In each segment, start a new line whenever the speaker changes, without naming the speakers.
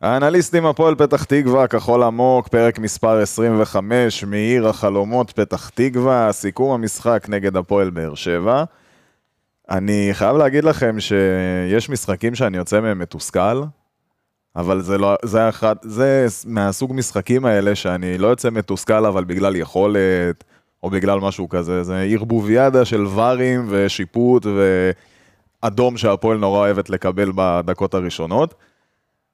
האנליסטים הפועל פתח תקווה, כחול עמוק, פרק מספר 25, מעיר החלומות פתח תקווה, סיכום המשחק נגד הפועל באר שבע. אני חייב להגיד לכם שיש משחקים שאני יוצא מהם מתוסכל, אבל זה, לא, זה, אחד, זה מהסוג משחקים האלה שאני לא יוצא מתוסכל, אבל בגלל יכולת, או בגלל משהו כזה, זה ערבוביאדה של ברים ושיפוט ואדום שהפועל נורא אוהבת לקבל בדקות הראשונות.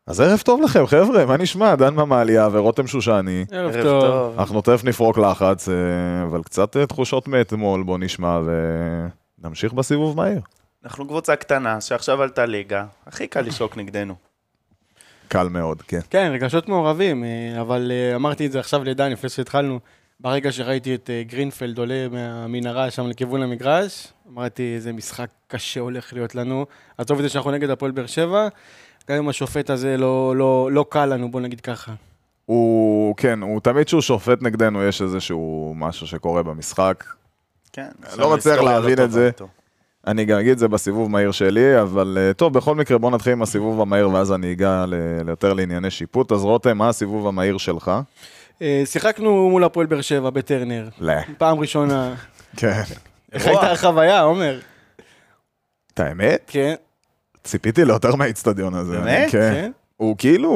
אז ערב טוב לכם, חבר'ה, מה נשמע? דן ממליה ורותם שושני.
ערב טוב.
אנחנו תכף נפרוק לחץ, אה, אבל קצת אה, תחושות מאתמול, בוא נשמע, ונמשיך בסיבוב מהיר.
אנחנו קבוצה קטנה שעכשיו עלתה ליגה, הכי קל לשוק נגדנו.
קל מאוד, כן.
כן, רגשות מעורבים, אה, אבל אה, אמרתי את זה עכשיו לדן לפני שהתחלנו. ברגע שראיתי את אה, גרינפלד עולה מהמנהרה שם לכיוון המגרש, אמרתי, זה משחק קשה הולך להיות לנו. עזוב את זה שאנחנו נגד הפועל באר שבע, גם אם השופט הזה לא, לא, לא קל לנו, בוא נגיד ככה.
הוא, כן, הוא תמיד כשהוא שופט נגדנו, יש איזשהו משהו שקורה במשחק.
כן.
לא מצליח
ההיסטוריה
להבין
טובה
את זה.
איתו.
אני גם אגיד את זה בסיבוב מהיר שלי, אבל אה, טוב, בכל מקרה בוא נתחיל עם הסיבוב המהיר ואז אני אגע ל- ליותר לענייני שיפוט. אז רותם, מה הסיבוב המהיר שלך?
אה, שיחקנו מול הפועל באר שבע בטרנר.
לא.
פעם ראשונה.
כן.
איך הייתה החוויה, עומר?
את האמת?
כן,
ציפיתי ליותר מהאיצטדיון הזה.
באמת?
כן.
כן.
הוא כאילו,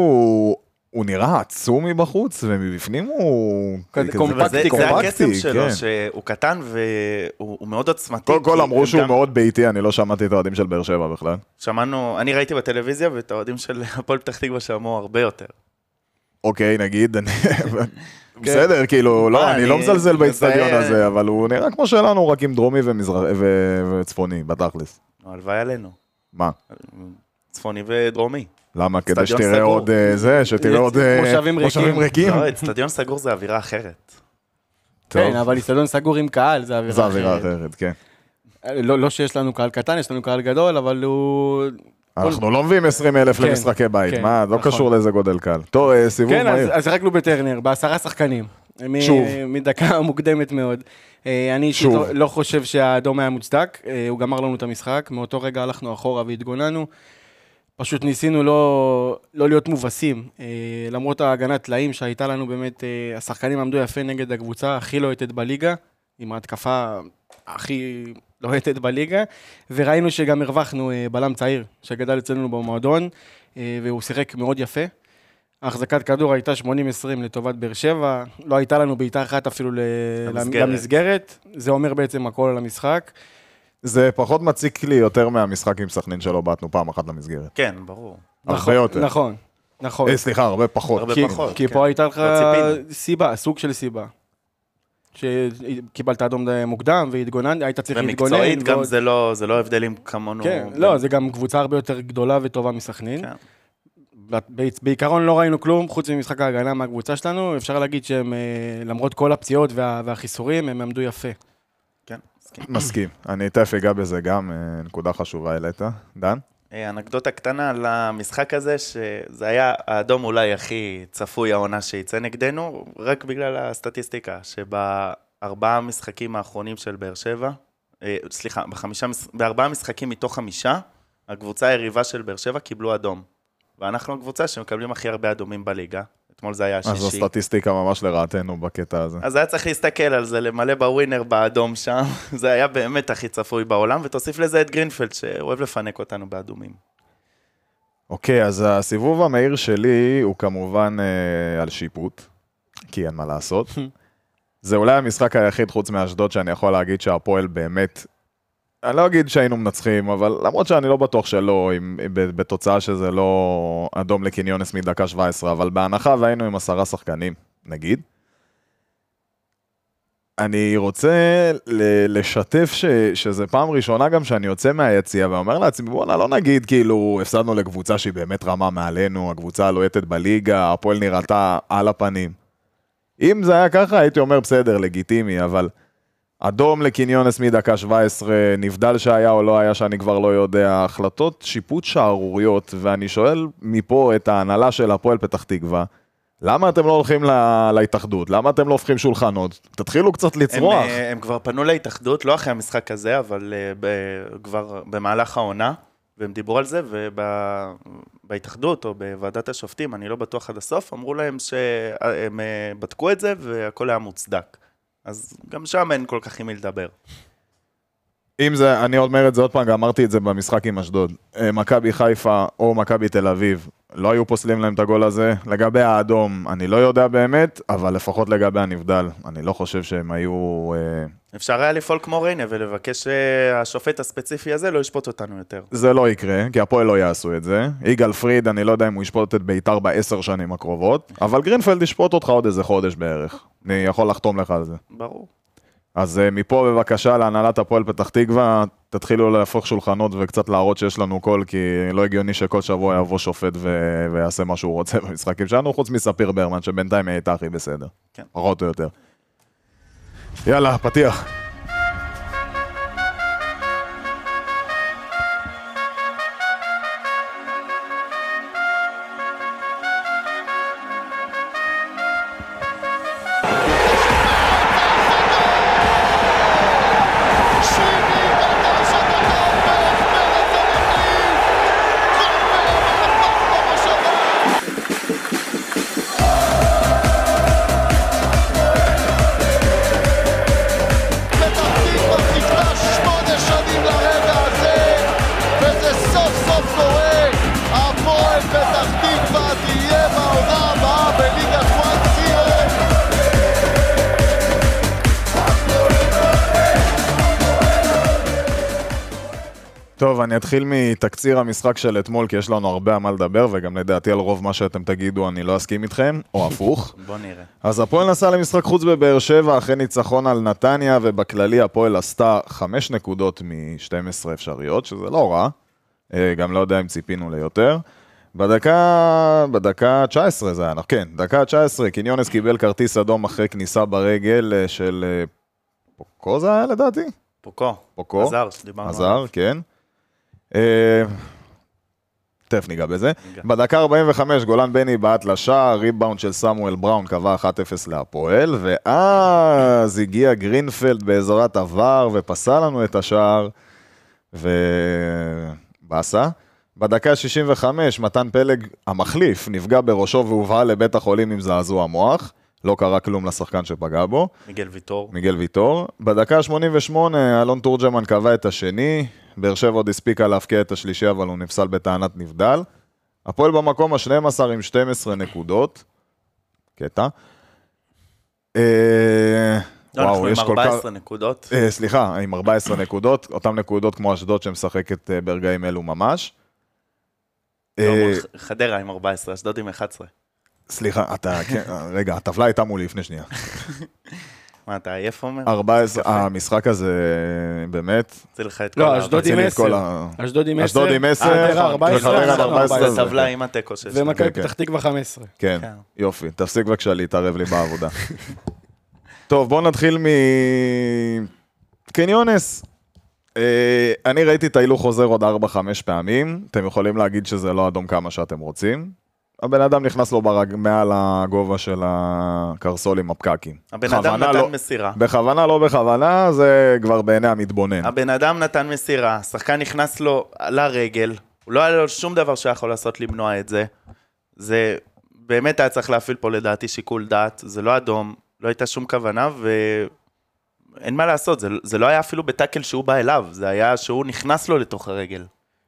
הוא נראה עצום מבחוץ, ומבפנים הוא...
כזה
כזה
קומפקטי,
וזה- זה
קומפקטי,
הקסם שלו,
כן.
שהוא קטן והוא הוא מאוד עוצמתי.
קודם כל
כי
אמרו
הם
שהוא
גם-
מאוד ביתי, אני לא שמעתי את האוהדים של באר שבע בכלל.
שמענו, אני ראיתי בטלוויזיה ואת האוהדים של הפועל פתח תקווה שמעו הרבה יותר.
אוקיי, נגיד, אני...
כן.
בסדר, כאילו, לא,
מה,
אני לא
אני
מזלזל
מזהה-
באיצטדיון הזה, אבל הוא נראה כמו שלנו, רק עם דרומי ומזרח- ו- וצפוני, בתכלס.
נו, הלוואי עלינו.
מה?
צפוני ודרומי.
למה? כדי
אצטדיון
שתראה
סגור.
עוד אה, זה, שתראה
אה,
עוד אה,
מושבים ריקים.
ריקים.
לא, אצטדיון סגור זה אווירה אחרת.
טוב.
כן, אבל איצטדיון סגור עם קהל, זה
זו
אווירה
אווירה אחרת,
אחרת.
כן.
לא, לא שיש לנו קהל קטן, יש לנו קהל גדול, אבל הוא...
אנחנו לא מביאים 20 אלף
כן,
למשחקי בית,
כן,
מה, לא
נכון.
קשור לאיזה גודל קל. טוב, אה, סיבוב
כן, אז
מהיר.
אז שיחקנו בטרנר, בעשרה שחקנים. מ-
שוב.
מדקה מוקדמת מאוד. אה, אני אישית
שוב.
לא- לא חושב שהאדום היה מוצדק, אה, הוא גמר לנו את המשחק, מאותו רגע הלכנו אחורה והתגוננו. פשוט ניסינו לא, לא להיות מובסים, אה, למרות ההגנת טלאים שהייתה לנו באמת, אה, השחקנים עמדו יפה נגד הקבוצה הכי לוהטת בליגה, עם ההתקפה הכי לוהטת בליגה, וראינו שגם הרווחנו אה, בלם צעיר שגדל אצלנו במועדון, אה, והוא שיחק מאוד יפה. ההחזקת כדור הייתה 80-20 לטובת באר שבע, לא הייתה לנו בעיטה אחת אפילו ל-
למסגרת.
למסגרת, זה אומר בעצם הכל על המשחק.
זה פחות מציק לי יותר מהמשחק עם סכנין שלא בעטנו פעם אחת למסגרת.
כן, ברור.
הרבה
נכון,
יותר.
נכון, נכון.
אה, סליחה, הרבה פחות.
הרבה
כי,
פחות,
כי
כן.
פה הייתה לך
לא ציפינו.
סיבה, סוג של סיבה. שקיבלת אדום די מוקדם והתגונן, היית צריך להתגונן.
ומקצועית גם
ועוד-
זה לא זה לא הבדלים כמונו.
כן, לא, זה גם קבוצה הרבה יותר גדולה וטובה מסכנין.
כן.
ב- בעיקרון לא ראינו כלום, חוץ ממשחק ההגנה מהקבוצה שלנו, אפשר להגיד שהם, אה, למרות כל הפציעות וה- והחיסורים, הם עמדו יפה.
כן, מסכים.
מסכים. אני תכף אגע בזה גם, אה, נקודה חשובה העלית. דן?
אה, אנקדוטה קטנה על המשחק הזה, שזה היה האדום אולי הכי צפוי העונה שיצא נגדנו, רק בגלל הסטטיסטיקה, שבארבעה המשחקים האחרונים של באר שבע, אה, סליחה, בחמישה, מש- בארבעה משחקים מתוך חמישה, הקבוצה היריבה של באר שבע קיבלו אדום. ואנחנו הקבוצה שמקבלים הכי הרבה אדומים בליגה, אתמול זה היה
אז זו
השישי.
סטטיסטיקה ממש לרעתנו בקטע הזה.
אז היה צריך להסתכל על זה, למלא בווינר באדום שם, זה היה באמת הכי צפוי בעולם, ותוסיף לזה את גרינפלד, שאוהב לפנק אותנו באדומים.
אוקיי, אז הסיבוב המהיר שלי הוא כמובן אה, על שיפוט, כי אין מה לעשות. זה אולי המשחק היחיד חוץ מאשדוד שאני יכול להגיד שהפועל באמת, אני לא אגיד שהיינו מנצחים, אבל למרות שאני לא בטוח שלא, עם, ב- בתוצאה שזה לא אדום לקניונס מדקה 17, אבל בהנחה והיינו עם עשרה שחקנים, נגיד. אני רוצה ל- לשתף ש, שזה פעם ראשונה גם שאני יוצא מהיציע ואומר לעצמי, וואלה, לא נגיד כאילו הפסדנו לקבוצה שהיא באמת רמה מעלינו, הקבוצה הלוהטת בליגה, הפועל נראתה על הפנים. אם זה היה ככה, הייתי אומר, בסדר, לגיטימי, אבל אדום לקניונס מדקה 17, נבדל שהיה או לא היה, שאני כבר לא יודע, החלטות שיפוט שערוריות, ואני שואל מפה את ההנהלה של הפועל פתח תקווה, למה אתם לא הולכים לה, להתאחדות? למה אתם לא הופכים שולחנות? תתחילו קצת
הם,
לצרוח.
אה, הם כבר פנו להתאחדות, לא אחרי המשחק הזה, אבל אה, ב, כבר אה, במהלך העונה, והם דיברו על זה, ובהתאחדות או בוועדת השופטים, אני לא בטוח עד הסוף, אמרו להם שהם אה, בדקו את זה והכל היה מוצדק. אז גם שם אין כל כך עם מי לדבר.
אם זה, אני אומר את זה עוד פעם, גם אמרתי את זה במשחק עם אשדוד. אה, מכבי חיפה או מכבי תל אביב, לא היו פוסלים להם את הגול הזה. לגבי האדום, אני לא יודע באמת, אבל לפחות לגבי הנבדל, אני לא חושב שהם היו... אה,
אפשר היה לפעול כמו ריינה ולבקש שהשופט הספציפי הזה לא ישפוט אותנו יותר.
זה לא יקרה, כי הפועל לא יעשו את זה. יגאל פריד, אני לא יודע אם הוא ישפוט את ביתר בעשר שנים הקרובות, אבל גרינפלד ישפוט אותך עוד איזה חודש בערך. אני יכול לחתום לך על זה.
ברור.
אז אה, מפה בבקשה להנהלת הפועל פתח תקווה, תתחילו להפוך שולחנות וקצת להראות שיש לנו קול, כי לא הגיוני שכל שבוע יבוא שופט ו... ויעשה מה שהוא רוצה במשחקים שלנו, חוץ מספיר ברמן, שבינתיים היא הייתה הכי בסדר.
כן.
פחות או יותר. יאללה, פתיח.
פתח תקווה תהיה בעונה הבאה בליגת וואן סירן
טוב, אני אתחיל מתקציר המשחק של אתמול, כי יש לנו הרבה על מה לדבר, וגם לדעתי על רוב מה שאתם תגידו אני לא אסכים איתכם, או הפוך.
בוא נראה.
אז הפועל נסע למשחק חוץ בבאר שבע אחרי ניצחון על נתניה, ובכללי הפועל עשתה 5 נקודות מ-12 אפשריות, שזה לא רע. אה, גם לא יודע אם ציפינו ליותר. בדקה, בדקה ה-19 זה היה, כן, דקה ה-19, קיניונס קיבל כרטיס אדום אחרי כניסה ברגל אה, של אה, פוקו זה היה לדעתי?
פוקו.
פוקו.
עזר, שדיברנו עליו.
עזר, כן. אה, תכף ניגע בזה.
ניגע.
בדקה 45 גולן בני בעט לשער, ריבאונד של סמואל בראון קבע 1-0 להפועל, ואז הגיע גרינפלד בעזרת עבר ופסל לנו את השער, ובאסה. בדקה 65 מתן פלג המחליף נפגע בראשו והובהל לבית החולים עם זעזוע מוח. לא קרה כלום לשחקן שפגע בו.
מיגל ויטור.
מיגל ויטור. בדקה ה-88, אלון תורג'מן קבע את השני, באר שבע עוד הספיקה להבקיע את השלישי, אבל הוא נפסל בטענת נבדל. הפועל במקום ה-12 עם 12 נקודות. קטע. אה,
לא, אנחנו
וואו, יש
עם
כל כך...
14 נקודות.
אה, סליחה, עם 14 נקודות, אותן נקודות כמו אשדוד שמשחקת אה, ברגעים אלו ממש.
לא,
אה,
מול ח- חדרה עם 14, אשדוד עם 11.
סליחה, אתה, כן, אה, רגע, הטבלה הייתה מולי לפני שנייה.
מה, אתה עייף אומר?
14,
יפה.
המשחק הזה, אה, באמת,
הוציא לך את כל
לא,
ה-
אשדוד
מציל לי את
עשר.
כל ה-
אשדוד עם אה, 10,
אשדוד עם 10,
חדרה
נכון,
14,
וחדרה
אסון,
14.
זה
14.
טבלה עם התיקו שיש לנו.
ומכבי
כן.
פתח תקווה 15.
כן,
כן.
יופי, תפסיק בבקשה להתערב לי בעבודה. טוב, בואו נתחיל מ... קניונס. אה, אני ראיתי את ההילוך חוזר עוד 4-5 פעמים, אתם יכולים להגיד שזה לא אדום כמה שאתם רוצים. הבן אדם נכנס לו ברג... מעל הגובה של הקרסול עם הפקקים.
הבן אדם
בכוונה לא-
נתן מסירה.
בכוונה, לא בכוונה, זה כבר בעיני המתבונן.
הבן אדם נתן מסירה, השחקן נכנס לו לרגל, לא היה לו שום דבר שהיה יכול לעשות למנוע את זה. זה באמת היה צריך להפעיל פה לדעתי שיקול דעת, זה לא אדום, לא הייתה שום כוונה ואין מה לעשות, זה, זה לא היה אפילו בטאקל שהוא בא אליו, זה היה שהוא נכנס לו לתוך הרגל.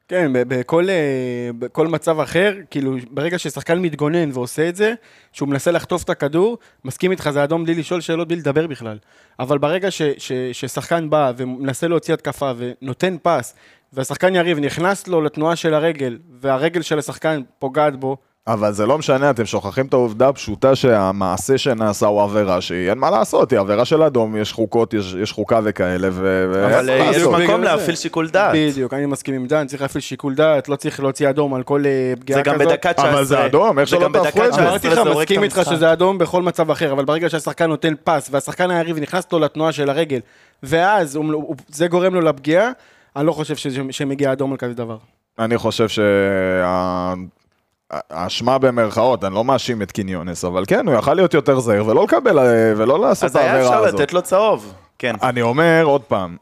כן, ב- בכל, אה, בכל מצב אחר, כאילו, ברגע ששחקן מתגונן ועושה את זה, שהוא מנסה לחטוף את הכדור, מסכים איתך, זה אדום בלי לשאול שאלות, בלי לדבר בכלל. אבל ברגע ש, ש, ששחקן בא ומנסה להוציא התקפה ונותן פס, והשחקן יריב נכנס לו לתנועה של הרגל, והרגל של השחקן פוגעת בו,
אבל זה לא משנה, אתם שוכחים את העובדה הפשוטה שהמעשה שנעשה הוא עבירה שהיא, אין מה לעשות, היא עבירה של אדום, יש חוקות, יש, יש חוקה וכאלה, ו... ואין
אבל
מה
אה, יש
לעשות.
בגלל
מקום
זה.
להפעיל שיקול דעת.
בדיוק, אני מסכים עם דן, צריך להפעיל שיקול דעת, לא צריך להוציא אדום על כל אה, פגיעה
זה
כזאת.
גם בדקה 19.
אבל זה אדום, איך
זה
שלא
גם בדקה
תהפכו את זה.
19
אמרתי כן, לך,
הורג את
מסכים איתך
המשחק.
שזה אדום בכל מצב אחר, אבל ברגע שהשחקן נותן פס והשחקן היריב נכנס לו לתנועה של הרגל, ואז הוא- הוא- זה גורם לו לפגיעה, אני לא חושב ש- שמגיע אדום על כזה דבר.
אני חושב שה- האשמה במרכאות, אני לא מאשים את קיניונס, אבל כן, הוא יכל להיות יותר זהיר ולא לקבל, אה, ולא לעשות
אז
את
היה
העבירה
אפשר
הזאת.
לתת לו צהוב. כן,
אני אומר עוד פעם,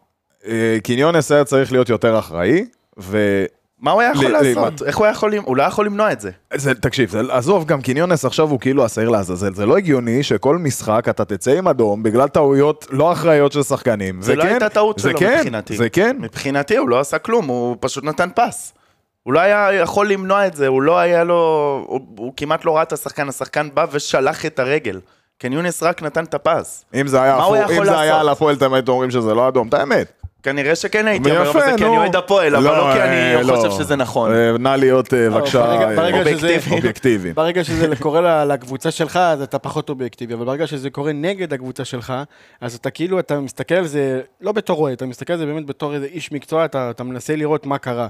אה, קיניונס היה צריך להיות יותר אחראי, ו...
מה הוא היה יכול
ל-
לעשות? איך הוא היה יכול, למ- הוא לא היה יכול למנוע את זה.
זה, תקשיב, זה, עזוב, גם קיניונס עכשיו הוא כאילו השעיר לעזאזל. זה לא הגיוני שכל משחק אתה תצא עם אדום בגלל טעויות לא אחראיות של שחקנים.
זה לא
כן-
הייתה טעות
זה
שלו
כן,
מבחינתי.
זה כן.
מבחינתי הוא לא עשה כלום, הוא פשוט נתן פס. הוא לא היה יכול למנוע את זה, הוא לא היה לו... הוא, הוא כמעט לא ראה את השחקן, השחקן בא ושלח את הרגל. כן, יונס רק נתן את הפס.
אם זה היה
מה הוא
הפו-
יכול
אם זה היה
לעשות?
על הפועל, אתם הייתם אומרים שזה לא אדום, את האמת.
כנראה שכן הייתי אומר,
יפה,
אבל זה כי אני
נו.
אוהד הפועל, אבל לא כי
אה,
אני
לא.
חושב שזה נכון.
אה, נא להיות, אה,
לא,
בבקשה,
ברגע-
אה,
ברגע שזה-
אובייקטיבי. אובייקטיבי.
ברגע שזה קורה ל- לקבוצה שלך, אז אתה פחות אובייקטיבי, אבל ברגע שזה קורה נגד הקבוצה שלך, אז אתה כאילו, אתה מסתכל על זה, לא בתור אוהד, אתה מסתכל על זה באמת בתור איזה איש מקצוע, אתה, אתה מנסה לראות מה קרה.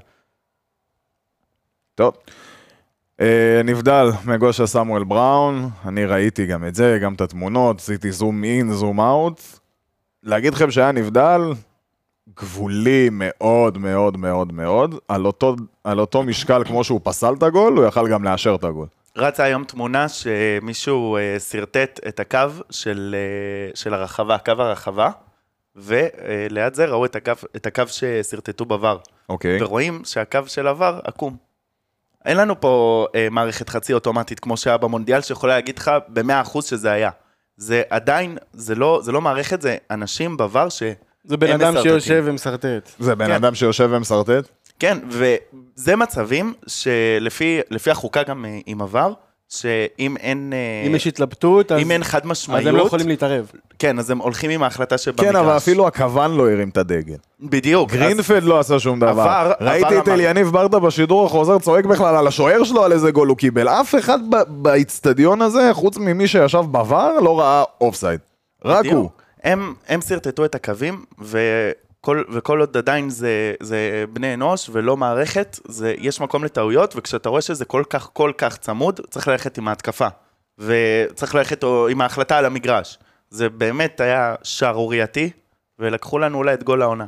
טוב. אה, נבדל מגושה סמואל בראון, אני ראיתי גם את זה, גם את התמונות, עשיתי זום אין, זום אאוט. להגיד לכם שהיה נבדל, גבולי מאוד מאוד מאוד מאוד, על אותו, על אותו משקל כמו שהוא פסל את הגול, הוא יכל גם לאשר את הגול.
רצה היום תמונה שמישהו אה, שרטט את הקו של, אה, של הרחבה, קו הרחבה, וליד זה ראו את הקו, את הקו ששרטטו בVAR.
אוקיי.
ורואים שהקו של עבר עקום. אין לנו פה אה, מערכת חצי אוטומטית כמו שהיה במונדיאל, שיכולה להגיד לך ב-100% שזה היה. זה עדיין, זה לא, זה לא מערכת, זה אנשים בVAR ש...
זה בן
הם
אדם
מסרטטים.
שיושב ומסרטט.
זה בן
כן.
אדם שיושב ומסרטט?
כן, וזה מצבים שלפי לפי החוקה גם אה, עם עבר, שאם אין... אה,
אם יש התלבטות, אז,
אם אין חד
אז
משמעיות,
הם לא יכולים להתערב.
כן, אז הם הולכים עם ההחלטה שבמגרש.
כן, אבל אפילו הכוון לא הרים את הדגל.
בדיוק. אז-
גרינפלד לא עשה שום דבר.
עבר-
ראיתי
עבר
את
אמר.
אליניב ברדה בשידור החוזר צועק בכלל על השוער שלו על איזה גול הוא קיבל. אף אחד ב- באיצטדיון הזה, חוץ ממי שישב בVAR, לא ראה אופסייד. רק
בדיוק.
הוא.
הם, הם שרטטו את הקווים, וכל, וכל עוד עדיין זה, זה בני אנוש ולא מערכת, זה, יש מקום לטעויות, וכשאתה רואה שזה כל כך כל כך צמוד, צריך ללכת עם ההתקפה. וצריך ללכת או, עם ההחלטה על המגרש. זה באמת היה שערורייתי, ולקחו לנו אולי את גול העונה.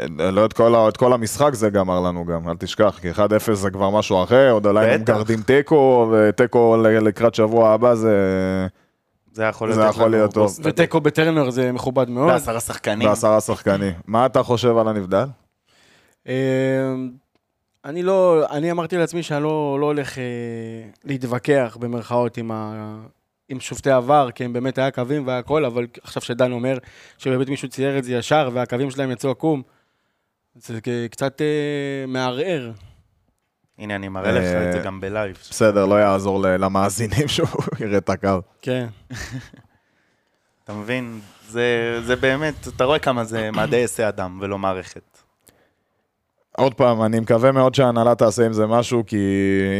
אה, לא את כל, ה- את כל המשחק זה גמר לנו גם, אל תשכח, כי 1-0 זה כבר משהו אחר, עוד עליי הם
בטח.
מגרדים תיקו, ותיקו ל- לקראת שבוע הבא זה
זה היה יכול
זה
לתת לנו...
יכול להיות טוב.
בוסט.
ותיקו בטרנר זה מכובד מאוד.
בעשרה שחקנים.
בעשרה שחקנים. מה אתה חושב על הנבדל?
אה, אני לא, אני אמרתי לעצמי שאני לא, לא הולך אה, להתווכח במרכאות עם, ה, עם שופטי עבר, כי הם באמת היה קווים והיה הכל, אבל עכשיו שדן אומר שבאמת מישהו צייר את זה ישר והקווים שלהם יצאו עקום, זה כ- קצת אה, מערער.
הנה, אני מראה לך את זה
אה,
גם בלייב.
בסדר, לא יעזור ל- למאזינים שהוא יראה את הקו.
כן.
אתה מבין? זה, זה באמת, אתה רואה כמה זה מעדי עשה אדם ולא מערכת.
עוד פעם, אני מקווה מאוד שההנהלה תעשה עם זה משהו, כי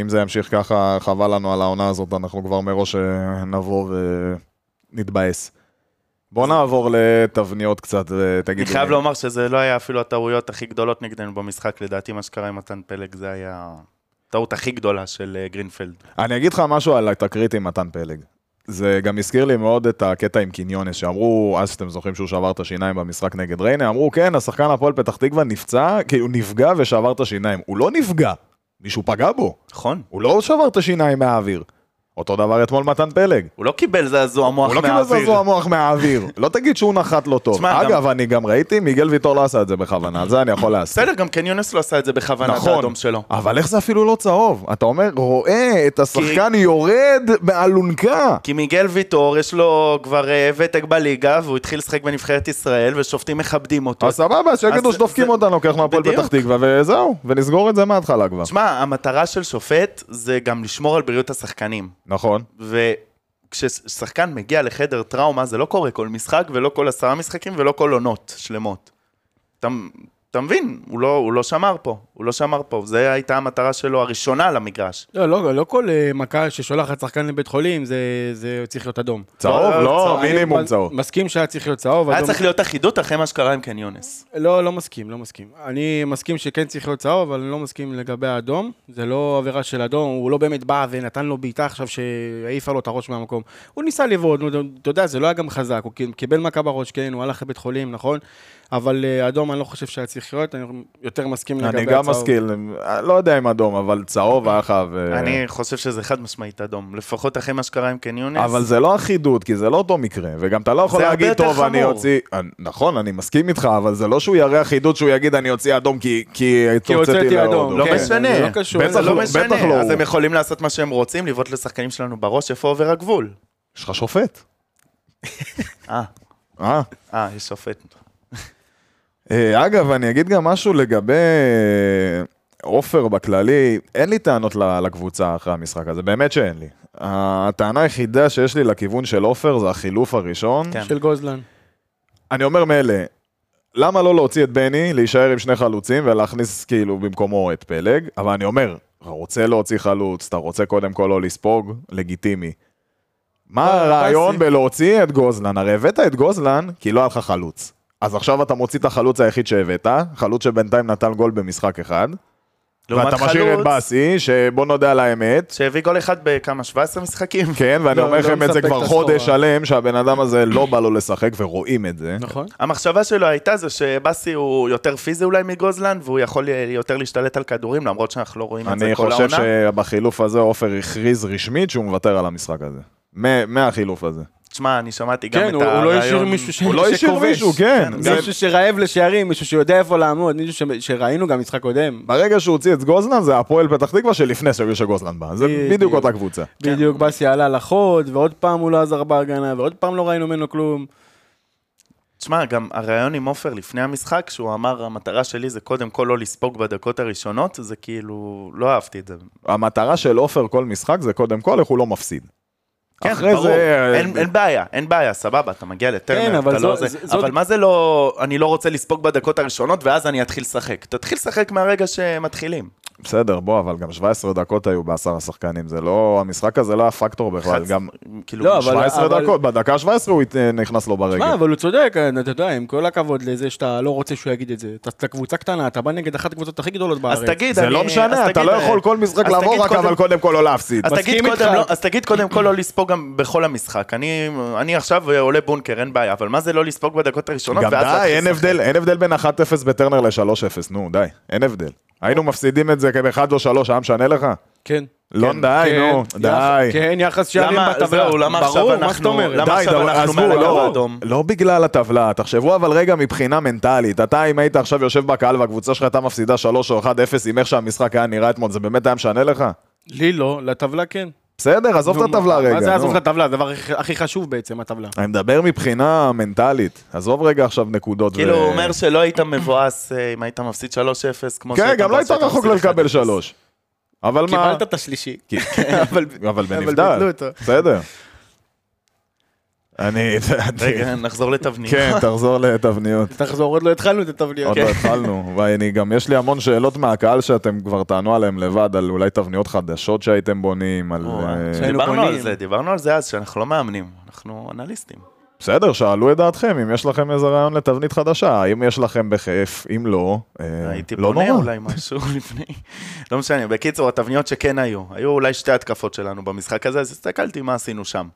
אם זה ימשיך ככה, חבל לנו על העונה הזאת, אנחנו כבר מראש אה, נבוא ונתבאס. בוא נעבור לתבניות קצת, ותגידו.
אני חייב
לי.
לומר שזה לא היה אפילו הטעויות הכי גדולות נגדנו במשחק, לדעתי מה שקרה עם מתן פלג זה היה הטעות הכי גדולה של אה, גרינפלד.
אני אגיד לך משהו על התקרית עם מתן פלג. זה גם הזכיר לי מאוד את הקטע עם קיניונס, שאמרו, אז אתם זוכרים שהוא שבר את השיניים במשחק נגד ריינה, אמרו, כן, השחקן הפועל פתח תקווה נפצע, כי הוא נפגע ושבר את השיניים. הוא לא נפגע, מישהו פגע בו,
נכון.
הוא לא שבר את השיניים מהאוויר. אותו דבר אתמול מתן פלג.
הוא לא קיבל זעזוע מוח
הוא לא קיבל
מהאוויר.
זעזוע מוח מהאוויר. לא תגיד שהוא נחת לא טוב.
תשמע,
אגב, אני גם ראיתי, מיגל ויטור לא עשה את זה בכוונה, על זה אני יכול להסכים.
בסדר, גם כן יונס לא עשה את זה בכוונה, את
נכון,
האדום שלו.
אבל איך זה אפילו לא צהוב? אתה אומר, רואה את השחקן יורד באלונקה.
כי מיגל ויטור יש לו כבר אה, ותק בליגה, והוא התחיל לשחק בנבחרת ישראל, ושופטים מכבדים אותו.
אז סבבה, אז שיגידו
כן. אז
שדופקים
זה-
אותנו, קח מהפועל
בדיוק.
פתח תקווה, וזהו, ונסגור את זה מההתחלה כבר.
תשמע, המטרה של שופט זה גם לשמור על בריאות השחקנים.
נכון.
וכששחקן מגיע לחדר טראומה, זה לא קורה כל משחק ולא כל עשרה משחקים ולא כל עונות שלמות. אתה, אתה מבין, הוא לא, הוא לא שמר פה, הוא לא שמר פה, זו הייתה המטרה שלו הראשונה על המגרש.
לא, לא, לא כל אה, מכה ששולחת שחקן לבית חולים, זה, זה צריך להיות אדום.
צהוב?
לא,
לא,
צהוב.
מינימום
אני
צהוב.
מסכים שהיה צריך להיות צהוב.
היה
אדום-
צריך להיות אחידות אחרי מה שקרה עם קניונס.
לא, לא מסכים, לא מסכים. אני מסכים שכן צריך להיות צהוב, אבל אני לא מסכים לגבי האדום. זה לא עבירה של אדום, הוא לא באמת בא ונתן לו בעיטה עכשיו שהעיפה לו את הראש מהמקום. הוא ניסה לבעוט, נו, אתה יודע, זה לא היה גם חזק, הוא קיבל מכה בראש, כן, הוא הלך לבית חולים, נכון? אבל אה, אדום אני לא חושב שהיה צריך להיות, אני יותר מסכים לגבי
אני גם
צהוב.
משכיל, אה, לא יודע אם אדום, אבל צהוב היה חייב... אה,
אני חושב שזה חד משמעית אדום, לפחות אחרי מה שקרה עם קניונס.
אבל זה לא אחידות, כי זה לא אותו מקרה, וגם אתה לא יכול
זה הרבה
להגיד,
יותר
טוב, אני
חמור."
אוציא... אה, נכון, אני מסכים איתך, אבל זה לא שהוא יראה אחידות שהוא יגיד, אני אוציא אדום כי- כי
כי הוצאתי אדום.
להודו."
לא
כן,
משנה.
זה לא קשור.
בטח
זה
זה
לא-
לא
בטח
משנה,
לא
אז
הוא.
הם יכולים לעשות מה שהם רוצים, לבעוט לשחקנים שלנו בראש, איפה עובר הגבול?
יש לך שופט.
אה,
אה?
אה, יש שופט.
אה, אגב, אני אגיד גם משהו לגבי אה, עופר בכללי, אין לי טענות ל- לקבוצה אחרי המשחק הזה, באמת שאין לי. הטענה היחידה שיש לי לכיוון של עופר זה החילוף הראשון.
כן.
של גוזלן.
אני אומר מאלה, למה לא להוציא את בני, להישאר עם שני חלוצים ולהכניס כאילו במקומו את פלג, אבל אני אומר, אתה רוצה להוציא חלוץ, אתה רוצה קודם כל לא לספוג, לגיטימי. מה
אה,
הרעיון
באסי.
בלהוציא את גוזלן? הרי הבאת את גוזלן כי לא היה לך חלוץ. אז עכשיו אתה מוציא את החלוץ היחיד שהבאת, חלוץ שבינתיים נתן גול במשחק אחד,
לעומת
ואתה משאיר את
חלוץ,
באסי, שבוא נודה על האמת,
שהביא גול אחד בכמה, 17 משחקים?
כן, ואני
לא,
אומר
לא
לכם את זה
מספק את
כבר
הסחורה.
חודש שלם, שהבן אדם הזה לא בא לו לשחק ורואים את זה.
נכון.
המחשבה שלו הייתה זה שבאסי הוא יותר פיזי אולי מגוזלן, והוא יכול יותר להשתלט על כדורים, למרות שאנחנו לא רואים את זה
אני
כל
חושב
העונה.
שבחילוף הזה עופר הכריז רשמית שהוא מוותר על המשחק הזה. מה- מהחילוף הזה.
תשמע, אני שמעתי גם
כן,
את
הוא
הרעיון.
הוא לא השאיר מישהו ש-
הוא לא השאיר
שכובש.
מישהו, כן.
כן,
זה-
מישהו שרעב לשערים, מישהו שיודע איפה לעמוד, מישהו ש- שראינו גם משחק קודם.
ברגע שהוא הוציא את גוזלן זה הפועל פתח תקווה שלפני שגושה גוזלן בא. זה
בדיוק.
בדיוק אותה קבוצה.
בדיוק, באסי עלה לחוד, ועוד פעם הוא לא עזר בהגנה, ועוד פעם לא ראינו ממנו כלום.
תשמע, גם הרעיון עם עופר לפני המשחק, שהוא אמר, המטרה שלי זה קודם כל לא לספוג בדקות הראשונות, זה כאילו, לא אהבתי את זה.
המטרה של עופר כל משחק זה קודם כל איך הוא לא מפסיד.
כן,
אחרי
ברור,
זה-
אין, אין בעיה, אין בעיה, סבבה, אתה מגיע לטרנר,
כן, אבל
אתה לא
זו-
זה,
ז- זאת-
אבל מה זה לא, אני לא רוצה לספוג בדקות הראשונות ואז אני אתחיל לשחק. תתחיל לשחק מהרגע שמתחילים.
בסדר, בוא, אבל גם 17 דקות היו בעשרה שחקנים, זה לא, המשחק הזה לא היה פקטור בכלל,
אחד-
גם
כאילו,
לא, אבל-
17 דקות, בדקה ה-17 הוא הת- נכנס לו
מה,
לא,
ברגל.
אבל הוא צודק, אה, אתה יודע, עם כל הכבוד לזה שאתה לא רוצה שהוא יגיד את זה. אתה- אתה קבוצה קטנה, אתה בא נגד אחת הקבוצות הכי גדולות בארץ.
אז תגיד,
זה
אני-
לא
אז
משנה, אתה
תגיד,
לא
אה,
יכול כל משחק
אז
לעבור
תגיד
רק,
קודם-
אבל קודם כל לא להפסיד.
אז
מסכים
תגיד,
איתך.
קודם, לא, אז תגיד קודם כל לא לספוג גם בכל המשחק. אני, אני עכשיו עולה בונקר, אין בעיה, אבל מה זה לא לספוג בדקות הראשונות
גם
ואז
די,
להתחיל
אין
לשחק?
הבדל, אין הבדל בין 1-0 בטרנר ל-3-0, נו, די, אין הבדל. היינו מפסידים את זה באחד או שלוש, היה משנה לך?
כן.
לא, די,
כן,
נו,
יח-
די.
כן, יחס שערים
למה,
בטבלה.
זהו, למה
כן, ברור,
עכשיו
מה זאת
אנחנו,
אומרת?
למה
די,
עכשיו
דבר-
אנחנו
עזבו,
מעל הקו
לא,
האדום?
לא בגלל הטבלה, תחשבו אבל רגע מבחינה מנטלית, אתה אם היית עכשיו יושב בקהל והקבוצה שלך הייתה מפסידה 3 או 1-0 עם איך שהמשחק היה נראה אתמול, זה באמת היה משנה לך? לי
לא, לטבלה כן.
בסדר, עזוב את הטבלה רגע.
מה זה עזוב
נו.
את הטבלה? הדבר הכי- הכי חשוב בעצם, הטבלה.
אני מדבר מבחינה מנטלית, עזוב רגע עכשיו נקודות.
כאילו,
ו-
הוא אומר שלא היית מבואס אה, אם היית מפסיד 3-0, כמו
כן,
שהיית
גם לא היית
מבואס שהיית
רחוק
מפסיד
לקבל
1-0.
3. אבל מה...
קיבלת את השלישי.
אבל, כן, אבל
ביטלו
בנבדל,
אותו.
בסדר. אני,
רגע, נחזור לתבנית.
כן, תחזור לתבניות.
תחזור, עוד לא התחלנו את הטבליות.
עוד לא התחלנו, ואני גם, יש לי המון שאלות מהקהל שאתם כבר תענו עליהן לבד, על אולי תבניות חדשות שהייתם בונים, על...
או, כן.
אה,
שהיינו-
דיברנו על
בונים.
זה, דיברנו על זה אז, שאנחנו לא מאמנים, אנחנו אנליסטים.
בסדר, שאלו את דעתכם, אם יש לכם איזה רעיון לתבנית חדשה, אם יש לכם בכיף, אם לא, אה,
הייתי
לא
בונה
נורא.
אולי משהו לפני. לא משנה, בקיצור, התבניות שכן היו, היו אולי שתי התקפות שלנו במשחק הזה, אז הסתכלתי מה עשינו שם.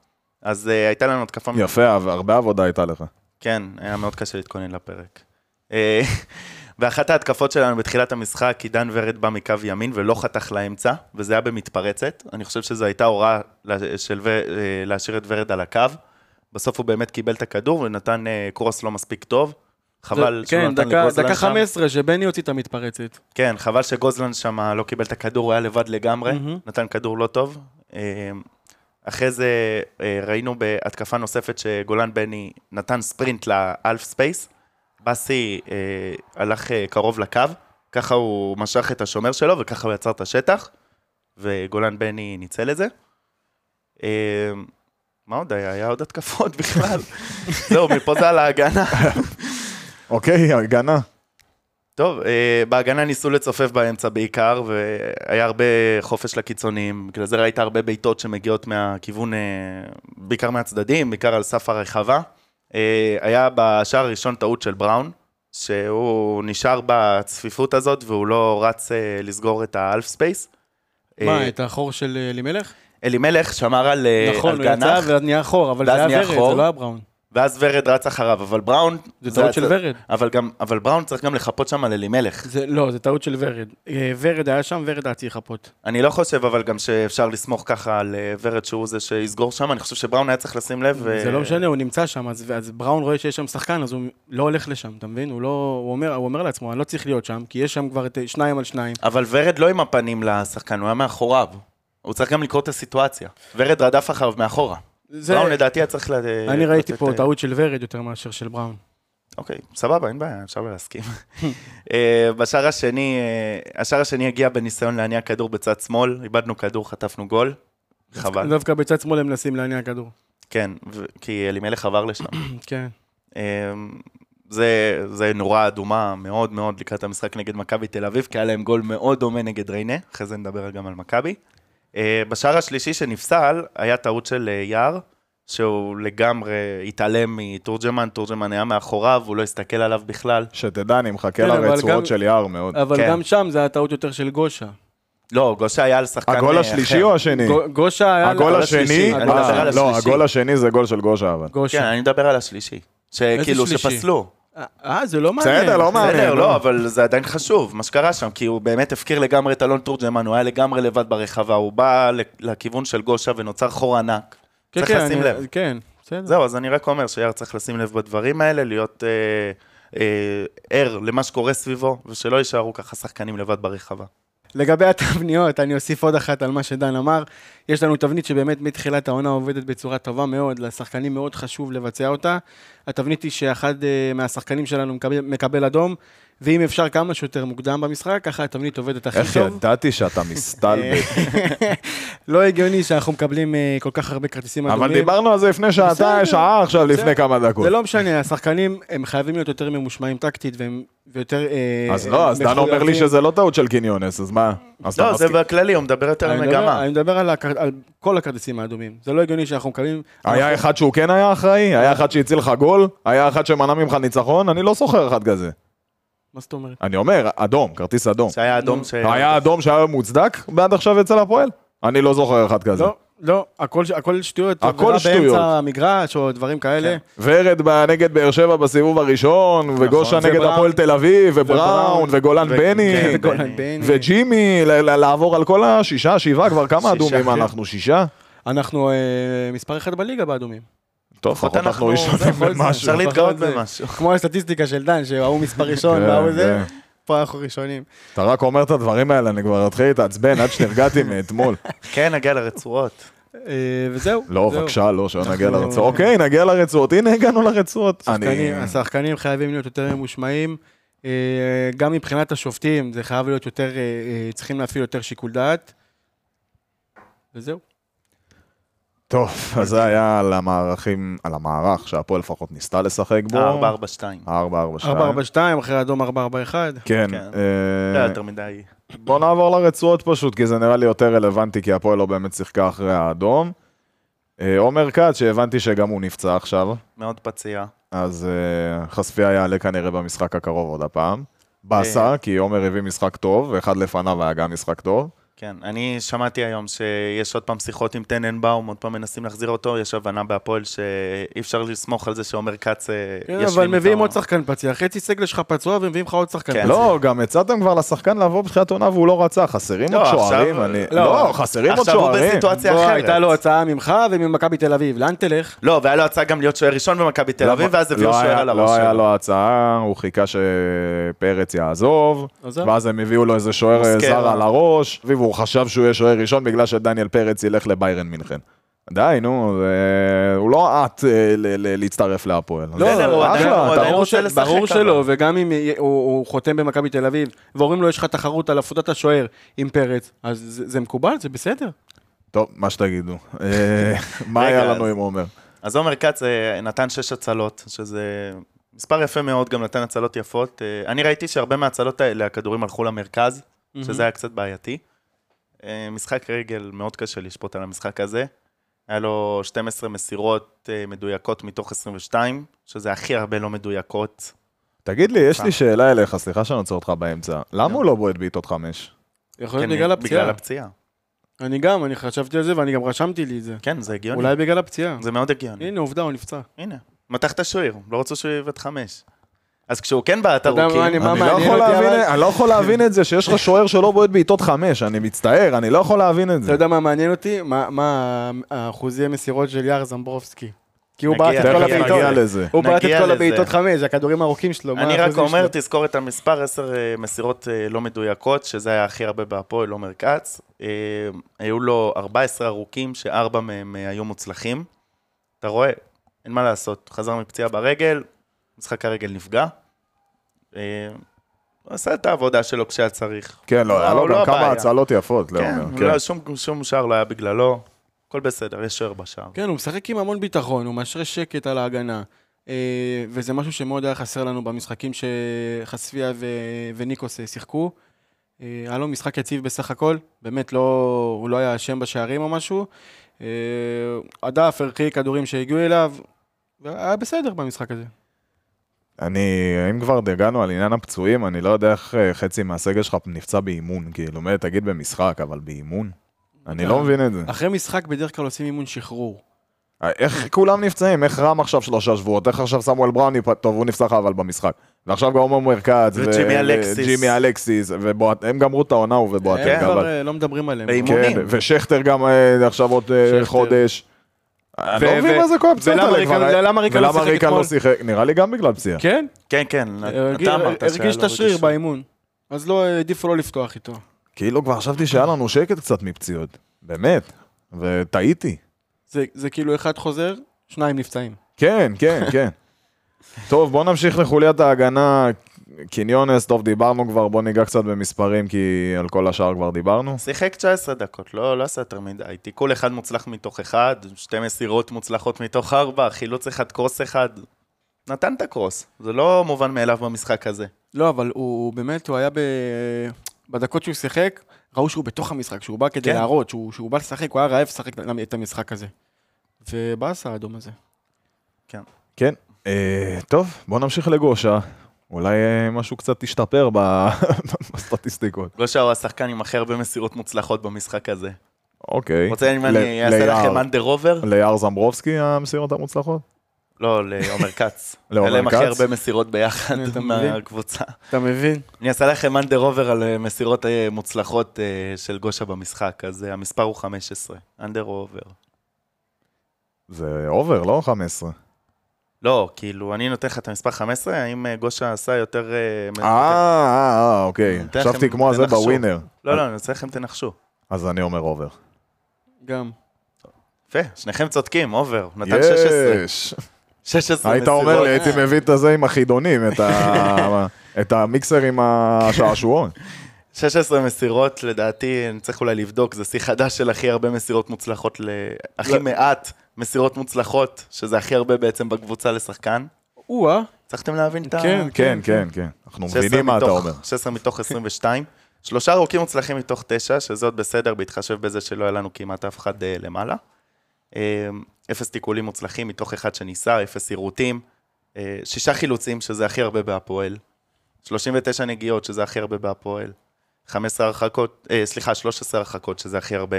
אז אה, הייתה לנו התקפה...
יפה, הב- הרבה עבודה הייתה לך.
כן, היה מאוד קשה להתכונן לפרק. אה, ואחת ההתקפות שלנו בתחילת המשחק, עידן ורד בא מקו ימין ולא חתך לאמצע, וזה היה במתפרצת. אני חושב שזו הייתה הוראה לה- של ו- אה, להשאיר את ורד על הקו. בסוף הוא באמת קיבל את הכדור ונתן אה, קרוס לא מספיק טוב. חבל שהוא
כן,
נתן
דקה-
לגוזלן
דקה
שם.
15, שבני הוציא את המתפרצת.
כן, חבל שגוזלן שם לא קיבל את הכדור, הוא היה לבד לגמרי,
מהמם.
נתן כדור לא טוב. אה, אחרי זה אה, ראינו בהתקפה נוספת שגולן בני נתן ספרינט לאלף ספייס, באסי אה, הלך אה, קרוב לקו, ככה הוא משך את השומר שלו וככה הוא יצר את השטח, וגולן בני ניצל את זה. אה, מה עוד היה? היה עוד התקפות בכלל. זהו, מפה זה על ההגנה.
אוקיי, הגנה.
טוב, אה, בהגנה ניסו לצופף באמצע בעיקר, והיה הרבה חופש לקיצוניים. בגלל זה ראית הרבה בעיטות שמגיעות מהכיוון, אה, בעיקר מהצדדים, בעיקר על סף הרחבה. אה, היה בשער הראשון טעות של בראון, שהוא נשאר בצפיפות הזאת והוא לא רץ אה, לסגור את האלף ספייס.
מה, את החור של אה, אלימלך?
אלימלך שמר על, אה,
נכון,
על
הוא יצא
גנח,
ואז נהיה חור, אבל
ואז
זה היה
נהיה
ורד,
חור.
זה לא היה בראון.
ואז ורד רץ אחריו, אבל בראון...
זה טעות של ורד.
אבל, גם, אבל בראון צריך גם לחפות שם על אלימלך.
זה, לא, זה טעות של ורד. אה, ורד היה שם, ורד היה צריך לחפות.
אני לא חושב אבל גם שאפשר לסמוך ככה על אה, ורד שהוא זה שיסגור שם, אני חושב שבראון היה צריך לשים לב. אה,
ו...
ו-
זה לא משנה, הוא נמצא שם, אז, אז בראון רואה שיש שם שחקן, אז הוא לא הולך לשם, אתה מבין? הוא, לא, הוא, אומר, הוא אומר לעצמו, אני לא צריך להיות שם, כי יש שם כבר את אה, שניים על שניים.
אבל ורד לא עם הפנים לשחקן, הוא היה מאחוריו. הוא צריך גם לקרוא את הסיטואציה. ורד רדף אחריו מאחורה.
זה,
בראון לדעתי היה צריך לתת...
אני ראיתי פה
אה,
טעות של ורד יותר מאשר של בראון.
אוקיי, סבבה, אין בעיה, אפשר לא להסכים. אה, בשער השני, אה, השער השני הגיע בניסיון להניע כדור בצד שמאל, איבדנו כדור, חטפנו גול. חבל.
דווקא בצד שמאל הם מנסים להניע כדור.
כן, ו- כי אלימלך עבר לשם.
כן.
אה, זה, זה נורה אדומה מאוד מאוד לקראת המשחק נגד מכבי תל אביב, כי היה להם גול מאוד דומה נגד ריינה, אחרי זה נדבר גם על מכבי. אה, בשער השלישי שנפסל, היה טעות של אה, יער, שהוא לגמרי התעלם מתורג'מן, תורג'מן היה מאחוריו, הוא לא הסתכל עליו בכלל.
שתדע, אני מחכה
כן, אבל
לרצועות
גם-
של יער מאוד.
אבל
כן.
גם שם זה היה טעות יותר של גושה.
לא, גושה היה על שחקן
הגול
אה,
השלישי
אחר.
או השני?
גו- גושה היה...
הגול
לה-
השני,
השלישי,
אני מדבר
אה,
על
לא,
השלישי.
הגול השני זה גול של גושה אבל.
כן,
גושה.
אני מדבר על השלישי. שכאילו,
שלישי?
שפסלו.
אה, זה לא מעניין.
בסדר, לא מעניין.
בסדר, לא, אבל זה עדיין חשוב, מה שקרה שם, כי הוא באמת הפקיר לגמרי את אלון תורג'מן, הוא היה לגמרי לבד ברחבה, הוא בא לכיוון של גושה ונוצר חור ענק.
כן,
צריך
כן,
לשים
אני-
לב.
כן, בסדר.
זהו, אז אני רק אומר שיאר צריך לשים לב בדברים האלה, להיות אה, אה, ער למה שקורה סביבו, ושלא יישארו ככה שחקנים לבד ברחבה.
לגבי התבניות, אני אוסיף עוד אחת על מה שדן אמר. יש לנו תבנית שבאמת מתחילת העונה עובדת בצורה טובה מאוד, לשחקנים מאוד חשוב לבצע אותה. התבנית היא שאחד אה, מהשחקנים שלנו מקבל, מקבל אדום, ואם אפשר כמה שיותר מוקדם במשחק, ככה התבנית עובדת הכי
איך
טוב. אה,
ידעתי שאתה מסתלבט?
לא הגיוני שאנחנו מקבלים אה, כל כך הרבה כרטיסים אדומים.
אבל דיברנו על זה לפני
בסדר.
שעתיים, שעה עכשיו, לפני
בסדר.
כמה דקות.
זה לא משנה, השחקנים הם חייבים להיות יותר ממושמעים טקטית והם ויותר... אה,
אז לא, אז דן אומר לי
מחויבים.
שזה לא טעות של קיניונס, אז מה? אז אתה
לא, זה
מסכים?
בכללי, הוא מדבר יותר על
אני מדבר-
מגמה.
אני מדבר על הכר- על כל הכרטיסים האדומים. זה לא הגיוני שאנחנו מקבלים...
היה
אנחנו-
אחד שהוא כן היה אחראי? היה אחד שהציל לך גול? היה אחד שמנע ממך ניצחון? אני לא זוכר אחד כזה.
מה זאת אומרת?
אני אומר, אדום, כרטיס אדום.
שהיה אדום ש...
לא, היה אדום שהיה מוצדק ועד עכשיו אצל הפועל? אני לא זוכר אחד כזה.
לא, לא, הכל ש- הכל שטויות.
הכל
עבירה
שטויות.
באמצע המגרש או דברים כאלה.
ורד ב- נגד באר שבע בסיבוב הראשון,
נכון,
וגושה נגד
ובראון.
הפועל תל אביב, ובראון,
ובראון.
וגולן
ו-
בני,
כן,
וגולן
בני.
בני.
וג'ימי, ל- ל- לעבור על כל השישה, שבעה, כבר כמה
שישה,
אדומים
כן.
אנחנו? שישה?
אנחנו אה, מספר אחד בליגה באדומים.
טוב, לפחות אנחנו ראשונים
יכול להיות זה.
במשהו.
אפשר להתגאות
לפחות זה.
במשהו.
כמו הסטטיסטיקה של דן, שההוא מספר ראשון
כן,
וההוא זה,
כן.
פה אנחנו ראשונים.
אתה רק אומר את הדברים האלה, אני כבר אתחיל להתעצבן עד שנרגעתי מאתמול.
כן, נגיע לרצועות.
אה, וזהו.
לא,
זהו.
בבקשה, לא, שלא נגיע
אנחנו-
לרצועות. אוקיי, נגיע לרצועות. הנה, הגענו לרצועות. אני...
שחקנים, השחקנים חייבים להיות יותר ממושמעים. אה, גם מבחינת השופטים, זה חייב להיות יותר, אה, אה, צריכים להפעיל יותר שיקול דעת. וזהו.
טוב, אז זה היה על המערכים, על המערך שהפועל לפחות ניסתה לשחק בו.
4-4-2.
4-4-2.
4-4-2, אחרי אדום 4-4-1.
כן.
כן.
אה,
לא יותר מדי.
בוא נעבור לרצועות פשוט, כי זה נראה לי יותר רלוונטי, כי הפועל לא באמת שיחקה אחרי האדום. אה, עומר כץ, שהבנתי שגם הוא נפצע עכשיו,
מאוד פציעה.
אז אה, חשפיה יעלה כנראה במשחק הקרוב עוד הפעם.
אה.
באסה, כי עומר הביא משחק טוב, ואחד לפניו היה גם משחק טוב.
כן, אני שמעתי היום שיש עוד פעם שיחות עם טננבאום, עוד פעם מנסים להחזיר אותו, יש הבנה בהפועל שאי אפשר לסמוך על זה שעומר כץ אה,
כן,
ישלים
אבל מביאים
איתו.
עוד שחקן פציע. חצי סגל שלך פצוע ומביאים לך עוד שחקן.
כן.
פציע.
לא, גם הצעתם כבר לשחקן לעבור בתחילת עונה והוא לא רצה, חסרים
לא,
עוד
עכשיו-
שוערים. אני-
לא,
לא, חסרים עוד
עכשיו הוא
שוערים.
בסיטואציה
בוא,
אחרת.
הייתה לו הצעה ממך וממכבי תל אביב. לאן תלך?
לא, והיה לו הצעה גם להיות שוער ראשון במכבי תל
למה-
אביב, ואז הביאו
לא
שוער
היה-
על הראש
לא היה
שלו.
לו הצעה, הוא חיכה שפרץ יעזוב,
עזוב.
ואז הם הביאו לו איזה שוער אה,
מוסקרה.
זר על הראש, והוא חשב שהוא יהיה שוער ראשון בגלל שדניאל פרץ ילך לביירן מינכן. די, נו, זה- הוא לא עט אה, ל- ל- להצטרף להפועל.
לא,
אז
בסדר, הוא
אחלה,
עדיין-
אתה-
הוא עדיין
ברור
רוצה
ש-
לשחק,
ברור
אבל.
שלא, וגם אם יהיה- הוא הוא חותם במכבי תל אביב, ואומרים לו יש לך תחרות על עבודת השוער עם פרץ, אז זה זה מקובל, זה בסדר.
טוב, מה שתגידו. אה, מה
רגע,
היה לנו
אז-
עם עומר?
אז עומר כץ אה, נתן שש הצלות, שזה מספר יפה מאוד, גם נתן הצלות יפות. אה, אני ראיתי שהרבה מההצלות האלה, הכדורים הלכו למרכז, שזה היה קצת בעייתי. אה, משחק רגל, מאוד קשה לשפוט על המשחק הזה. היה לו 12 מסירות אה, מדויקות מתוך 22, שזה הכי הרבה לא מדויקות.
תגיד לי, יש לי שאלה אליך, סליחה שאני עוצר אותך באמצע. למה הוא לא בועט בעיטות חמש?
יכול להיות
כן,
בגלל הפציעה.
בגלל הפציעה.
אני גם, אני חשבתי על זה ואני גם רשמתי לי את זה.
כן, זה הגיוני.
אולי בגלל הפציעה.
זה מאוד הגיוני.
הנה, עובדה, הוא נפצע.
הנה. מתח את השוער, לא רצו שהוא יבעט חמש. אז כשהוא כן בעט
יודע מה,
ארוכים,
מה
אני לא,
מעניין
יכול
אותי,
להבין,
אבל-
אני לא יכול להבין את זה שיש לך שוער שלא בועט בעיטות חמש, אני מצטער, אני לא יכול להבין את
אתה
זה.
יודע מה מעניין אותי? מה- מה האחוזי מסירות של יאר זמברובסקי? כי הוא
נגיע,
בעט את כל
תכף
נגיע,
הבעיטות.
נגיע
הבעיטות.
לזה.
הוא בעט את
נגיע
כל
לזה.
הבעיטות חמש, זה הכדורים הארוכים שלו. מה
אני רק
האחוזים
אומר,
שלו?
תזכור את המספר, 10 אה, מסירות אה, לא מדויקות, שזה היה הכי הרבה בהפועל, עומר כץ. אה, היו לו 14 ארוכים, שארבע מהם אה, היו מוצלחים. אתה רואה, אין מה לעשות, חזר מפציעה ברגל, משחק הרגל נפגע. אה, הוא עשה את העבודה שלו כשהיה צריך.
כן, לא, היה
הוא
לו גם כמה
הבעיה.
הצלות יפות,
כן,
לעומר.
לא, שום- שום שער לא היה בגללו. הכל בסדר, יש שוער בשער.
כן, הוא משחק עם המון ביטחון, הוא מאשרר שקט על ההגנה. אה, וזה משהו שמאוד היה חסר לנו במשחקים שחשפיה ו... וניקוס אה, שיחקו. אה, היה לו משחק יציב בסך הכל, באמת לא, הוא לא היה אשם בשערים או משהו. אה, הדף, ערכי כדורים שהגיעו אליו, והיה בסדר במשחק הזה.
אני, אם כבר הגענו על עניין הפצועים, אני לא יודע איך אה, חצי מהסגל שלך נפצע באימון, כאילו, מה, תגיד במשחק, אבל באימון? אני
אה.
לא מבין את זה. אה,
אחרי משחק בדרך כלל עושים אימון שחרור.
איך כולם נפצעים? איך רם עכשיו שלושה שבועות? איך עכשיו סמואל בראון, נפ- טוב, הוא נפצע לך אבל במשחק. ועכשיו גם עומר מרכז,
וג'ימי אלקסיס.
ג'ימי אלקסיס, ובועט- הם גמרו את העונה הוא ובועטים
כן,
הם
גם.
כבר
אבל-
אה, לא מדברים עליהם.
באימון.
כן,
אימונים.
ושכטר גם אה, עכשיו עוד אה,
שכטר.
חודש. אני
ו-
לא מבין
ו-
מה זה כל הפציעות
ולמה
האלה כבר.
ריקן- ולמה ריקן לא שיחק
ריקן
אתמול?
לא שיחק? נראה לי גם בגלל פציעה.
כן,
כן, כן,
הרגיש-
אתה אמרת שהיה לא
הרגיש
לו
את השריר
רגישות.
באימון. אז לא, העדיפו לא לפתוח איתו.
כאילו כבר חשבתי שהיה לנו שקט קצת מפציעות. באמת. וטעיתי.
זה, זה כאילו אחד חוזר, שניים נפצעים.
כן, כן, כן. טוב, בוא נמשיך לחוליית ההגנה. קניונס, טוב, דיברנו כבר, בוא ניגע קצת במספרים, כי על כל השאר כבר דיברנו.
שיחק 19 דקות, לא, לא עשה יותר מדי. תיקול אחד מוצלח מתוך אחד, שתי מסירות מוצלחות מתוך ארבע, חילוץ אחד, קרוס אחד. נתן את הקרוס, זה לא מובן מאליו במשחק הזה.
לא, אבל הוא, הוא באמת, הוא היה ב... בדקות שהוא שיחק, ראו שהוא בתוך המשחק, שהוא בא כדי
כן.
כן. להראות, שהוא, שהוא בא לשחק, הוא היה רעב לשחק למ- את המשחק הזה. ובאס האדום הזה.
כן. אה, טוב, בוא נמשיך לגושה. אולי אה, משהו קצת ישתפר ב- בסטטיסטיקות.
גושה הוא לא השחקן עם הכי הרבה מסירות מוצלחות במשחק הזה.
אוקיי.
רוצה אם
ל-
אני אעשה
ליער.
לכם אנדר עובר?
ליער זמברובסקי המסירות המוצלחות?
לא, לעומר כץ.
לעומר
אלה הם הכי
כץ?
הרבה מסירות ביחד
הנה, אתה מבין?
מהקבוצה.
אתה מבין?
אני אעשה לכם אנדר עובר על אה, מסירות אה, מוצלחות אה, של גושה במשחק, אז אה, המספר הוא 15. אנדר או עובר.
זה אובר, לא 15.
לא, כאילו, אני נותן לך את המספר 15, האם אה, גושה עשה יותר... אה, מ-
אה, אה, אה, אוקיי.
אתן לכם-
חשבתי כמו הזה
תנחשו.
בווינר.
לא, לא, אני רוצה לכם תנחשו.
אז אני אומר אובר.
גם.
יפה, שניכם צודקים, אובר, נתן 16.
יש.
16
היית
מסירות. אה.
אומר לי, הייתי מביא את הזה עם החידונים, את ה- את המיקסר עם השעשועון.
כן, 16 מסירות, לדעתי, אני צריך אולי לבדוק, זה שיא חדש של הכי הרבה מסירות מוצלחות, ל...
לא.
הכי מעט מסירות מוצלחות, שזה הכי הרבה בעצם בקבוצה לשחקן.
או-אה,
צריכתם להבין את ה...
כן,
כן, כן, כן. אנחנו
16
מבינים מה אתה
מתוך-
אומר.
16 מתוך 22. שלושה ארוכים מוצלחים מתוך תשע, שזה עוד בסדר, בהתחשב בזה שלא היה לנו כמעט אף אחד אה, למעלה. אה, אפס תיקולים מוצלחים מתוך אחד שניסה, אפס עירותים. אה, שישה חילוצים, שזה הכי הרבה בהפועל. 39 נגיעות, שזה הכי הרבה בהפועל. 15 הרחקות, אה, סליחה, 13 הרחקות, שזה הכי הרבה.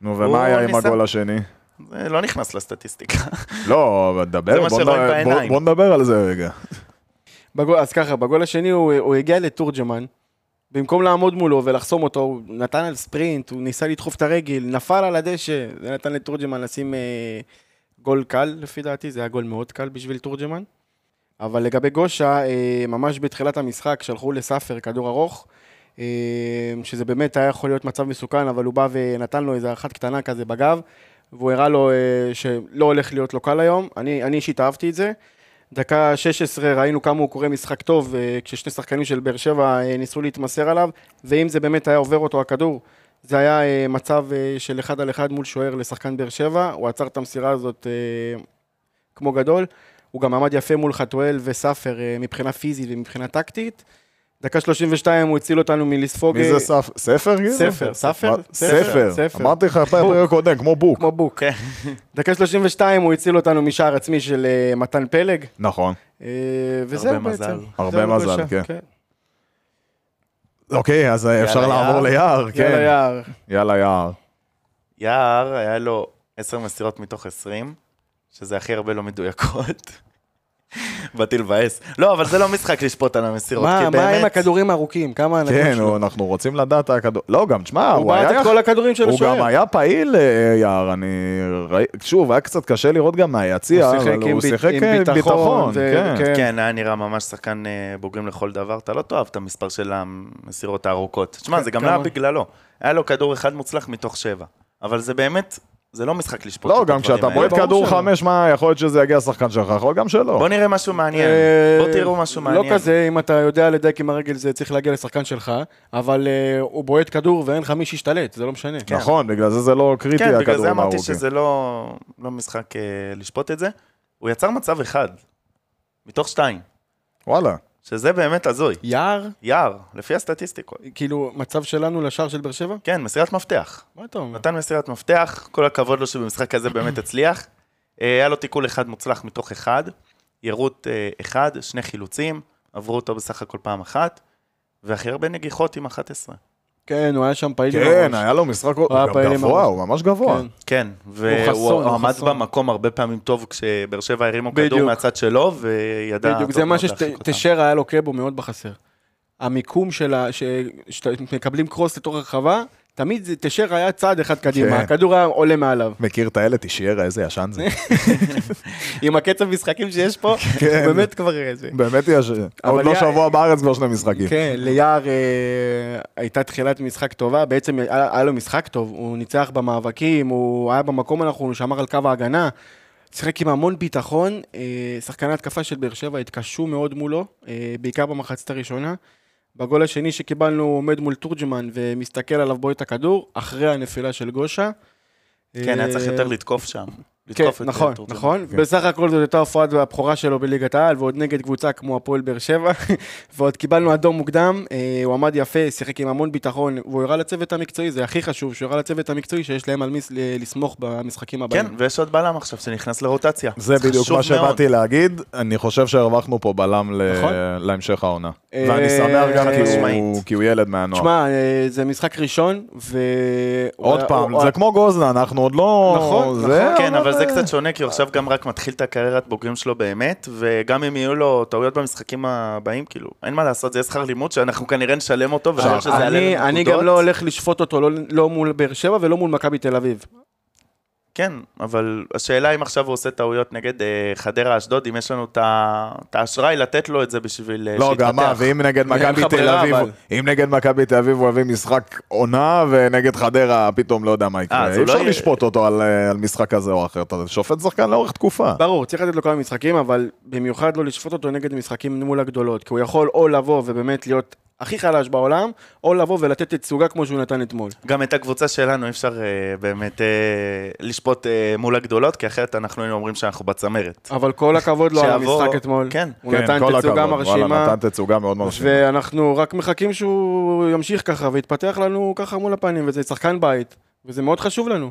נו,
הוא
ומה היה עם
ניסה-
הגול השני?
זה לא נכנס לסטטיסטיקה.
לא, אבל דבר,
זה מה
בוא
שרואים
נדבר- בוא-
בעיניים.
בוא נדבר על זה רגע.
בגול, אז ככה, בגול השני הוא, הוא הגיע לתורג'מן, במקום לעמוד מולו ולחסום אותו, הוא נתן על ספרינט, הוא ניסה לדחוף את הרגל, נפל על הדשא, זה נתן לתורג'מן לשים אה, גול קל, לפי דעתי, זה היה גול מאוד קל בשביל תורג'מן. אבל לגבי גושה, אה, ממש בתחילת המשחק שלחו לסאפר כדור ארוך, אה, שזה באמת היה יכול להיות מצב מסוכן, אבל הוא בא ונתן לו איזה אחת קטנה כזה בגב, והוא הראה לו אה, שלא הולך להיות לו קל היום, אני אני אישית אהבתי את זה. דקה 16 ראינו כמה הוא קורא משחק טוב, אה, כששני שחקנים של באר שבע אה, ניסו להתמסר עליו, ואם זה באמת היה עובר אותו הכדור, זה היה אה, מצב אה, של אחד על אחד מול שוער לשחקן באר שבע, הוא עצר את המסירה הזאת אה, כמו גדול, הוא גם עמד יפה מול חתואל וסאפר אה, מבחינה פיזית ומבחינה טקטית. דקה 32 הוא הציל אותנו מלספוג...
מי
אוקיי.
אה,
זה ספ- ספר? כאילו?
ספר, ספר,
מה-
ספר,
ספר.
ספר.
אמרתי לך בפרק הקודם, כמו בוק.
כמו בוק.
כן.
דקה 32 הוא הציל אותנו משער עצמי של אה, מתן פלג.
נכון.
אה, וזהו
הרבה
בעצם.
מזל.
הרבה
זהו
מזל,
גושה,
כן. אוקיי, אז אה, אפשר
יאללה,
לעבור ליער,
יאללה
כן.
יער.
יאללה יער.
יער, היה לו 10 מסירות מתוך 20, שזה הכי הרבה לא מדויקות. באתי לבאס. לא, אבל זה לא משחק לשפוט על המסירות, כי
מה
באמת...
מה עם הכדורים הארוכים? כמה הנקודות
אוקיי, כן,
שלו?
הוא- אנחנו רוצים לדעת הכדור... לא, גם, תשמע,
אה, הוא
הוא
בעט
היה...
את כל הכדורים של
הוא גם
השוער.
היה פעיל, אה, יער, אני... ראי- שוב, היה קצת קשה לראות גם מהיציע,
הוא שיחק
אבל
עם
הוא
ביט-
שיחק
עם
אה,
ביטחון,
ביטחון,
זה-
כן.
כן.
כן, היה נראה ממש שחקן אה, בוגרים לכל דבר. אתה לא תאהב את המספר של המסירות הארוכות. תשמע, זה גם לא היה
כמה?
בגללו. היה לו כדור אחד מוצלח מתוך שבע. אבל זה באמת, זה לא משחק לשפוט
לא,
את
גם
הדברים
כשאתה
האלה.
בועט
כן, ברור
כדור
שלא.
חמש, מה, יכול להיות שזה יגיע שחקן שלך, יכול גם שלא.
בוא נראה משהו מעניין.
אה,
בוא תראו משהו מעניין.
לא כזה, אם אתה יודע לדייק עם הרגל זה צריך להגיע לשחקן שלך, אבל אה, הוא בועט כדור ואין לך מי שישתלט, זה לא משנה.
נכון, בגלל זה זה לא קריטי,
כן, בגלל זה
הכדורים
אמרתי
הארוכים.
שזה לא, לא משחק אה, לשפוט את זה. הוא יצר מצב אחד, מתוך שתיים,
וואלה.
שזה באמת הזוי.
יער,
יער, לפי הסטטיסטיקות.
כאילו, מצב שלנו לשער של באר שבע?
כן, מסירת מפתח.
מה אתה אומר?
נתן מסירת מפתח, כל הכבוד לו שבמשחק הזה באמת הצליח. אה, היה לו תיקול אחד מוצלח מתוך אחד, יירוט אה, אחד, שני חילוצים, עברו אותו בסך הכל פעם אחת, והכי הרבה נגיחות עם 11.
כן, הוא היה שם פעיל.
כן, היה לו משחק... הוא
היה
גם
פעיל עם
גבוה,
הראש.
הוא ממש גבוה.
כן.
כן,
חסון,
והוא
הוא
עמד
חסון.
במקום הרבה פעמים טוב כשבאר שבע הרימו כדור
בדיוק.
מהצד שלו, וידע...
בדיוק,
טוב
זה מה
מאוד להרחיק אותם.
שתשר היה לוקה בו מאוד בחסר. המיקום של ה... ש- שמקבלים קרוס לתוך הרחבה, תמיד זה- תשר היה צעד אחד קדימה,
כן.
הכדור היה עולה מעליו.
מכיר את האלה, תשאר, איזה ישן זה.
עם הקצב משחקים שיש פה,
כן.
באמת כבר אה, איזה.
באמת יש... עוד לא
יא-
שבוע בארץ, כבר שני משחקים.
כן, ליער אה, הייתה תחילת משחק טובה, בעצם היה היה לו משחק טוב, הוא ניצח במאבקים, הוא היה במקום הנכון, הוא שמר על קו ההגנה, שיחק עם המון ביטחון, אה, שחקני התקפה של באר שבע התקשו מאוד מולו, אה, בעיקר במחצית הראשונה. בגול השני שקיבלנו הוא עומד מול תורג'מן ומסתכל עליו בועט את הכדור, אחרי הנפילה של גושה.
כן, היה צריך
אה,
יותר לתקוף שם.
כן,
לתקוף את, אה,
נכון,
תורג'מן.
נכון.
כן.
בסך הכל זאת הייתה הופעת הבכורה שלו בליגת העל, ועוד נגד קבוצה כמו הפועל באר שבע, ועוד קיבלנו אדום מוקדם, אה, הוא עמד יפה, שיחק עם המון ביטחון, והוא הראה לצוות המקצועי, זה הכי חשוב, שהוא הראה לצוות המקצועי שיש להם על מי ס- ל- לסמוך במשחקים הבאים.
כן, ויש עוד בלם עכשיו שנכנס לרוטציה.
זה בדיוק
חשוב
מה
מאוד.
שבאתי להגיד, אני חושב שהרווחנו פה בלם ל-
נכון.
להמשך העונה.
אה,
ואני שמח גם כי הוא-
חד-משמעית.
כי הוא ילד מהנוער.
תשמע, אה, זה משחק ראשון, ו... אה,
עוד
הוא-
פעם,
הוא-
זה כמו גוזלן, אנחנו עוד לא...
נכון,
זה,
נכון.
כן, אבל זה קצת
ש...
שונה, כי הוא עכשיו גם רק מתחיל את הקריירת בוגרים שלו באמת, וגם אם יהיו לו טעויות במשחקים הבאים, כאילו, אין מה לעשות, זה יהיה שכר לימוד שאנחנו כנראה נשלם אותו, ואני חושב שזה יעלה
אה, אני,
לנו
אני
נקודות.
גם לא הולך לשפוט אותו, לא, לא מול באר שבע ולא מול מכבי תל אביב.
כן, אבל השאלה אם עכשיו הוא עושה טעויות נגד אה, חדרה אשדוד, אם יש לנו את ה- את האשראי לתת לו את זה בשביל אה,
לא, גם מה, ואם נגד
אין
מכבי
לך
תל
ברירה,
אביב,
אבל.
אם נגד מכבי תל אביב הוא יביא משחק עונה, ונגד חדרה פתאום לא יודע מה יקרה.
אז
אי
הוא לא
אפשר
יהיה-
לשפוט אותו על אה, על משחק כזה או אחר, אתה שופט שחקן לאורך תקופה.
ברור, צריך לתת לו כמה משחקים, אבל במיוחד לא לשפוט אותו נגד משחקים מול הגדולות, כי הוא יכול או לבוא ובאמת להיות הכי חלש בעולם, או לבוא ולתת תצוגה כמו שהוא נתן אתמול.
גם את הקבוצה שלנו אי אפשר אה, באמת אה, לשפוט אה, מול הגדולות, כי אחרת אנחנו היינו אומרים שאנחנו בצמרת.
אבל כל הכבוד לו על
שיעבור-
המשחק אתמול.
כן.
הוא
כן,
נתן
כל
תצוגה
הכבוד. וואלה,
מרשימה,
נתן תצוגה מאוד מרשימה.
ואנחנו רק מחכים שהוא ימשיך ככה ויתפתח לנו ככה מול הפנים, וזה שחקן בית, וזה מאוד חשוב לנו.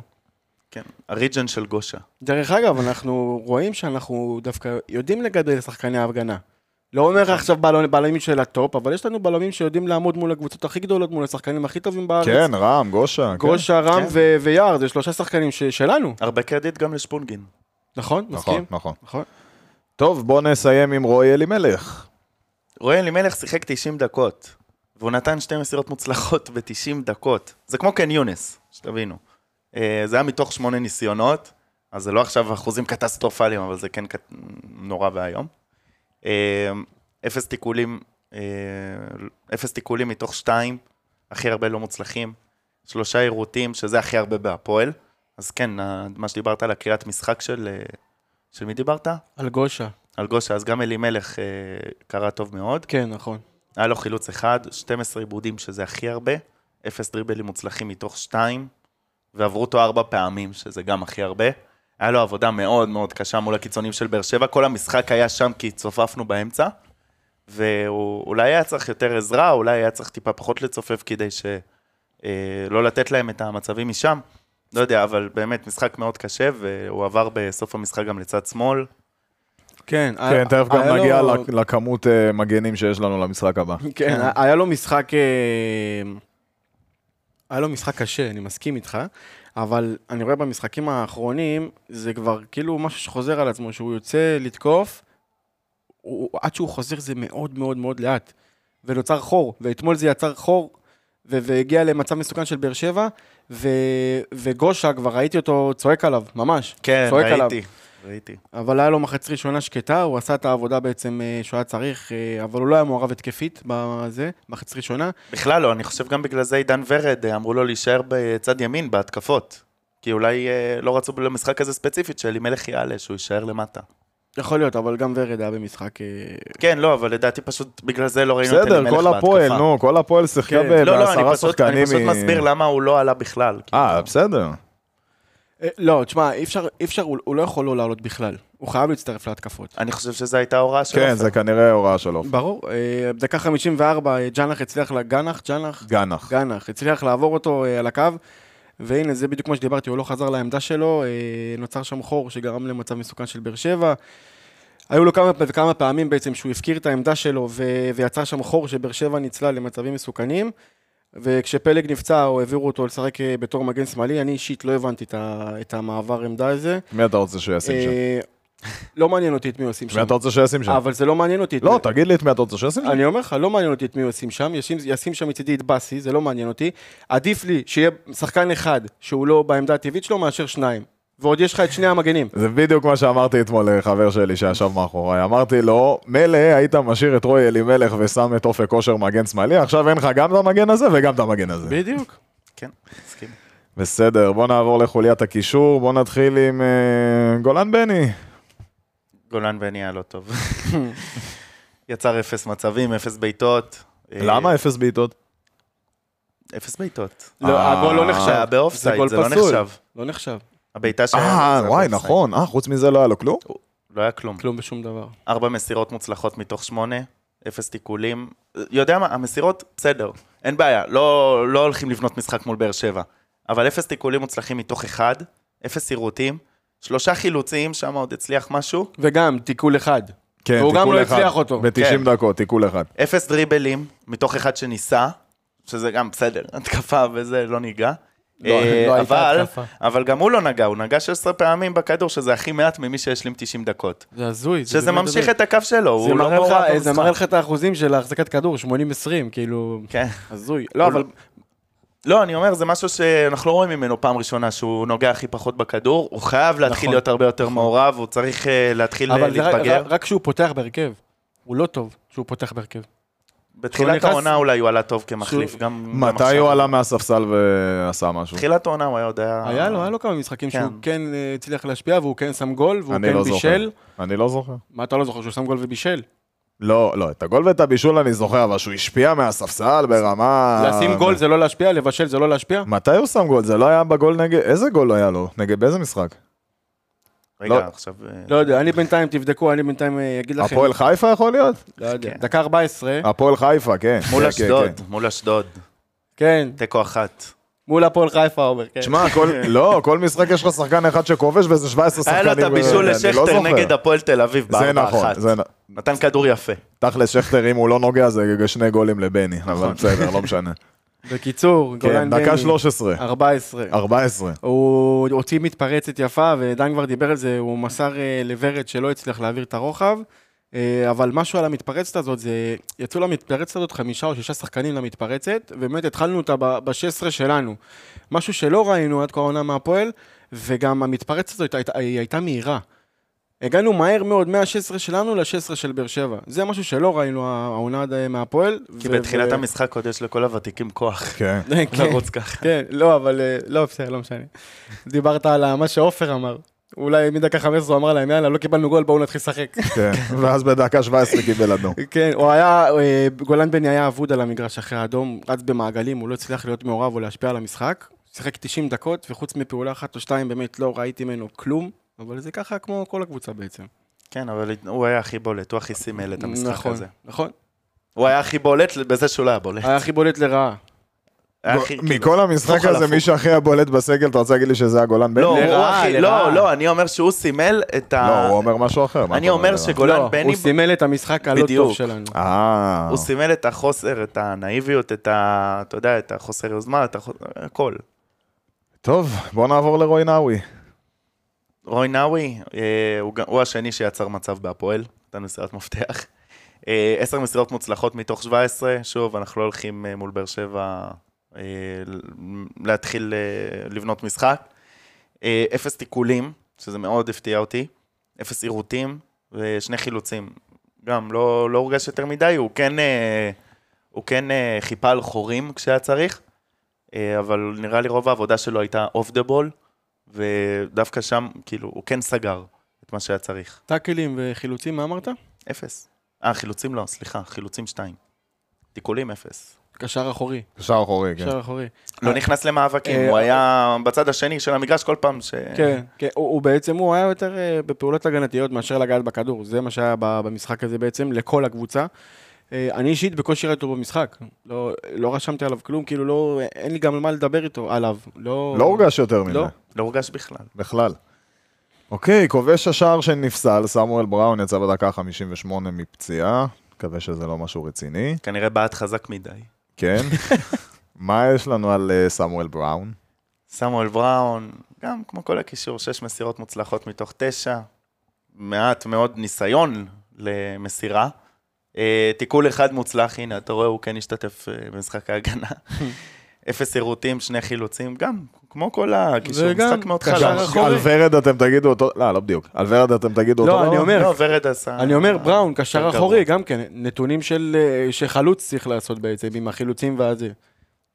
כן, הריג'ן של גושה.
דרך אגב, אנחנו רואים שאנחנו דווקא יודעים לגדל שחקני ההפגנה. לא אומר לך עכשיו בלמים- בלמים של הטופ, אבל יש לנו בלמים שיודעים לעמוד מול הקבוצות הכי גדולות, מול השחקנים הכי טובים בארץ.
כן, רם, גושה. כן.
גושה, רם
כן.
ו- ויער, זה שלושה שחקנים ש- שלנו,
הרבה קרדיט גם לשפונגין.
נכון?
נכון,
מסכים?
נכון.
נכון.
טוב, בוא נסיים עם רועי אלימלך.
רועי אלימלך שיחק 90 דקות, והוא נתן שתי מסירות מוצלחות ב-90 דקות. זה כמו קן יונס, שתבינו. אה, זה היה מתוך שמונה ניסיונות, אז זה לא עכשיו אחוזים קטסטרופליים, אבל זה כן קט... נורא ואיום. אה, אפס תיקולים, אה, אפס תיקולים מתוך שתיים, הכי הרבה לא מוצלחים. שלושה עירותים, שזה הכי הרבה בהפועל. אז כן, ה- מה שדיברת על הקריאת משחק של... אה, של מי דיברת?
על גושה,
על גושה, אז גם אלימלך אה, קרא טוב מאוד.
כן, נכון.
היה לו חילוץ אחד, 12 עיבודים, שזה הכי הרבה, אפס דריבלים מוצלחים מתוך שתיים, ועברו אותו ארבע פעמים, שזה גם הכי הרבה. היה לו עבודה מאוד מאוד קשה מול הקיצונים של באר שבע, כל המשחק היה שם כי צופפנו באמצע, והוא אולי היה צריך יותר עזרה, אולי היה צריך טיפה פחות לצופף כדי ש... אה, לא לתת להם את המצבים משם. לא יודע, אבל באמת משחק מאוד קשה, והוא עבר בסוף המשחק גם לצד שמאל.
כן,
כן, תכף גם נגיע
לו...
לכ- לכמות אה, מגנים שיש לנו למשחק הבא.
כן, היה לו משחק... אה, היה לו משחק קשה, אני מסכים איתך, אבל אני רואה במשחקים האחרונים, זה כבר כאילו משהו שחוזר על עצמו, שהוא יוצא לתקוף, הוא, עד שהוא חוזר זה מאוד מאוד מאוד לאט. ונוצר חור, ואתמול זה יצר חור, ו- והגיע למצב מסוכן של באר שבע, ו- וגושה, כבר ראיתי אותו צועק עליו, ממש.
כן,
צועק עליו.
ראיתי, ראיתי.
אבל היה לו מחצית ראשונה שקטה, הוא עשה את העבודה בעצם אה, שהוא היה צריך, אה, אבל הוא לא היה מעורב התקפית בזה, מחצית ראשונה.
בכלל לא, אני חושב גם בגלל זה עידן ורד אה, אמרו לו להישאר בצד ימין בהתקפות. כי אולי אה, לא רצו למשחק הזה ספציפית של אלימלך יעלה, שהוא יישאר למטה.
יכול להיות, אבל גם ורד היה במשחק... אה,
כן, לא, אבל לדעתי פשוט בגלל זה לא ראינו את אלימלך
בסדר,
בהתקפה.
כל הפועל, נו, כל הפועל שיחקה
כן.
ב-
לא, לא, אני
בעשרה
פשוט,
שחקנים.
אני פשוט
מ-
מסביר למה הוא לא עלה בכלל.
אה, בסדר.
אה, לא, תשמע, אי אפשר, אי אפשר, הוא, הוא לא יכול לא לעלות בכלל. הוא חייב להצטרף להתקפות.
אני חושב שזו הייתה ההוראה שלו.
כן, זה כנראה הוראה של עופר.
ברור, אה, דקה 54, אה, ג'אנח הצליח, ל- גנח, ג'אנח,
גנח.
גנח, הצליח לעבור אותו אה, על הקו, והנה, זה בדיוק מה שדיברתי, הוא לא חזר לעמדה שלו, אה, נוצר שם חור שגרם למצב מסוכן של באר שבע. היו לו כמה, כמה פעמים בעצם שהוא הפקיר את העמדה שלו ו- ויצר שם חור שבאר שבע ניצלה למצבים מסוכנים. וכשפלג נפצע או העבירו אותו לשחק אה, בתור מגן שמאלי, אני אישית לא הבנתי את, ה- את המעבר עמדה הזה.
מי אתה רוצה שהוא ישים שם?
אה, לא מעניין אותי את מי עושים
מי
שם.
אתה רוצה שישים שם?
אבל זה לא מעניין אותי. את מי-
לא, תגיד לי את מי אתה רוצה שישים שם.
אני אומר לך, לא מעניין אותי את מי עושים שם, ישים, ישים שם מצידי את באסי, זה לא מעניין אותי. עדיף לי שיהיה שחקן אחד שהוא לא בעמדה הטבעית שלו, מאשר שניים. ועוד יש לך את שני המגנים.
זה בדיוק מה שאמרתי אתמול לחבר שלי שישב מאחוריי. אמרתי לו, מילא היית משאיר את רוי אלימלך ושם את אופק כושר מגן שמאלי, עכשיו אין לך גם את המגן הזה וגם את המגן הזה.
בדיוק.
כן, מסכים.
בסדר, בוא נעבור לחוליית הקישור, בוא נתחיל עם אה, גולן בני.
גולן בן נהיה לא טוב. יצר אפס מצבים, אפס בעיטות. אה,
למה אפס בעיטות?
אפס בעיטות.
לא,
אה,
הגול לא נחשב.
זה היה באופסייד,
גול
זה לא
פסול.
נחשב.
לא נחשב,
הבעיטה שהיה...
אה,
זה
וואי,
באופסייד.
נכון. אה, חוץ מזה לא היה לו כלום?
לא היה כלום.
כלום ושום דבר.
ארבע מסירות מוצלחות מתוך שמונה, אפס תיקולים. יודע מה, המסירות, בסדר, אין בעיה, לא, לא הולכים לבנות משחק מול באר שבע. אבל אפס תיקולים מוצלחים מתוך אחד, אפס עירותים, שלושה חילוצים, שם עוד הצליח משהו,
וגם, תיקול אחד.
כן,
והוא גם
תיקול
לא
אחד.
הצליח אותו.
ב-90
כן.
דקות, תיקול אחד.
אפס דריבלים מתוך אחד שניסה, שזה גם בסדר, התקפה וזה, לא ניגע.
לא,
אה,
לא הייתה
אבל,
התקפה.
אבל גם הוא לא נגע, הוא נגע 16 פעמים בכדור, שזה הכי מעט ממי שהשלים 90 דקות.
זה הזוי.
שזה ממשיך את הקו שלו,
זה
הוא לא
מראה לך-
מעורב
זה מראה לך את האחוזים של החזקת כדור, 80-20, כאילו,
כן.
הזוי. לא, אבל
לא, אני אומר, זה משהו שאנחנו לא רואים ממנו פעם ראשונה, שהוא נוגע הכי פחות בכדור, הוא חייב להתחיל
נכון.
להיות הרבה יותר מעורב, הוא צריך אה, להתחיל אה,
אבל זה רק-
להתבגר.
רק כשהוא פותח בהרכב. הוא לא טוב כשהוא פותח בהרכב.
בתחילת
כשהוא נכנס-
העונה אולי הוא עלה טוב כמחליף,
כשהוא-
גם... גם
מתי
עכשיו.
הוא עלה מהספסל ועשה משהו?
בתחילת העונה הוא היה עוד...
אה,
היה לו, היה לו כמה משחקים
כן.
שהוא כן אה, הצליח להשפיע, והוא כן שם גול, והוא
אני
כן
לא זוכר.
בישל.
אני לא זוכר.
מה אתה לא זוכר שהוא שם גול ובישל?
לא, לא, את הגול ואת הבישול אני זוכר, אבל שהוא השפיע מהספסל ברמה...
לשים גול זה לא להשפיע, לבשל זה לא להשפיע?
מתי הוא שם גול? זה לא היה בגול נגד... איזה גול היה לו? נגד באיזה משחק? לא.
רגע, עכשיו... אה,
לא יודע, אני בינתיים, תבדקו, אני בינתיים אה, אגיד לכם.
הפועל חיפה יכול להיות?
לא יודע.
כן.
דקה 14,
הפועל חיפה, כן.
מול
כן, כן,
אשדוד,
כן.
מול אשדוד,
כן,
תיקו אחת.
מול הפועל חיפה, עומר, כן.
שמע, כל... לא, כל משחק יש לך שחקן אחד שכובש ואיזה 17
היה
שחקנים.
לו את הבישול
אני לא
לשכטר
זוכר.
נגד הפועל תל אביב
זה
בארבע
נכון,
אחת.
זה נ-
נתן כדור יפה.
תכל'ס שכטר, אם הוא לא נוגע, זה שני גולים לבני, אבל בסדר, לא משנה.
בקיצור,
כן,
גולן בני,
דקה 13,
14.
14.
הוא הוציא מתפרצת יפה, ודן כבר דיבר על זה, הוא מסר אה, לוורד שלא הצליח להעביר את הרוחב, אה, אבל משהו על המתפרצת הזאת, זה יצאו למתפרצת הזאת חמישה או שישה שחקנים למתפרצת, ובאמת התחלנו אותה ב-16 שלנו. משהו שלא ראינו עד כה העונה מהפועל, וגם המתפרצת הזאת הייתה, היא הייתה מהירה. הגענו מהר מאוד מה-16 שלנו ל-16 של באר שבע. זה משהו שלא ראינו העונה עד אה, מהפועל.
כי
ו-
בתחילת
ו-
המשחק עוד יש לכל הוותיקים כוח
כן.
כן.
לרוץ ככה.
כן, לא, אבל אה, לא, בסדר, לא משנה. דיברת על ה- מה שעופר אמר. אולי מדקה 15 הוא אמר להם, יאללה, לא קיבלנו גול, בואו נתחיל לשחק.
כן, ואז בדקה 17 קיבל אדום.
כן, הוא היה, אה, גולן בני היה אבוד על המגרש אחרי האדום, רץ במעגלים, הוא לא הצליח להיות מעורב או להשפיע על המשחק. שיחק 90 דקות, וחוץ מפעולה אחת או שתיים, באמת לא ראיתי ממנו כלום, אבל זה ככה כמו כל הקבוצה בעצם.
כן, אבל הוא היה הכי בולט, הוא הכי סימל את המשחק
נכון,
הזה.
נכון.
הוא היה הכי בולט בזה שהוא לא היה בולט.
היה הכי בולט לרעה.
היה הכי, כאילו,
אה, מכל המשחק
הפוך על
הזה,
הפוך.
מי שהכי היה בולט בסגל, אתה רוצה להגיד לי שזה היה גולן בני?
לא, הוא
לרעה,
הכי-
לרעה.
לא, לא, אני אומר שהוא סימל את ה...
לא, הוא אומר משהו אחר. מה
אני
אתה
אומר
לא,
שגולן בני,
הוא סימל את המשחק הלא טוב
בדיוק.
שלנו.
אה,
הוא סימל את החוסר, את הנאיביות, את ה... אתה יודע, את החוסר יוזמה, את החוסר... הכל.
טוב, בוא נעבור לרוי נאווי.
רוי נאווי, אה, הוא, גם- הוא השני שיצר מצב בהפועל, נתן מסירת מפתח. אה, עשר מסירות מוצלחות מתוך 17, שוב, אנחנו לא הולכים אה, מול באר שבע אה, ל- להתחיל אה, לבנות משחק. אה, אפס תיקולים, שזה מאוד הפתיע אותי, אפס עירותים ושני חילוצים. גם לא, לא הורגש יותר מדי, הוא כן, אה, הוא כן אה, חיפה על חורים כשהיה צריך, אה, אבל נראה לי רוב העבודה שלו הייתה אוף דה בול. ודווקא שם, כאילו, הוא כן סגר את מה שהיה צריך.
טאקלים וחילוצים, מה אמרת?
אפס. אה, חילוצים לא, סליחה, חילוצים שתיים. תיקולים אפס.
קשר אחורי,
קשר אחורי, כן.
קשר אחורי.
לא נכנס למאבקים,
אה,
הוא היה בצד השני של המגרש כל פעם ש...
כן, כן, הוא הוא בעצם, הוא היה יותר אה, בפעולות הגנתיות מאשר לגעת בכדור, זה מה שהיה ב- במשחק הזה בעצם, לכל הקבוצה. אה, אני אישית בקושי ראיתי אותו במשחק, לא לא רשמתי עליו כלום, כאילו לא, אין לי גם על מה לדבר איתו, עליו.
לא הורגש יותר מזה,
לא.
לא הורגש בכלל.
בכלל. אוקיי, כובש השער שנפסל, סמואל בראון יצא בדקה 58 מפציעה, מקווה שזה לא משהו רציני,
כנראה בעט חזק מדי.
כן. מה יש לנו על אה, סמואל בראון?
סמואל בראון, גם כמו כל הקישור, שש מסירות מוצלחות מתוך תשע. מעט מאוד ניסיון למסירה. אה, תיקול אחד מוצלח, הנה, אתה רואה, הוא כן השתתף אה, במשחק ההגנה. אפס עירותים, שני חילוצים, גם, כמו כל הקישור,
זה גם
משחק מאוד
קשר
חלש. לא,
אחורי.
על ורד אתם תגידו אותו, לא, לא בדיוק. על ורד אתם תגידו
לא,
אותו
אני
דבר?
אומר,
לא, ורד עשה...
אני אומר, בראון, קשר
יותר גרוע.
אחורי, גם כן, נתונים של, אה, שחלוץ צריך לעשות בעצם, עם החילוצים והזה.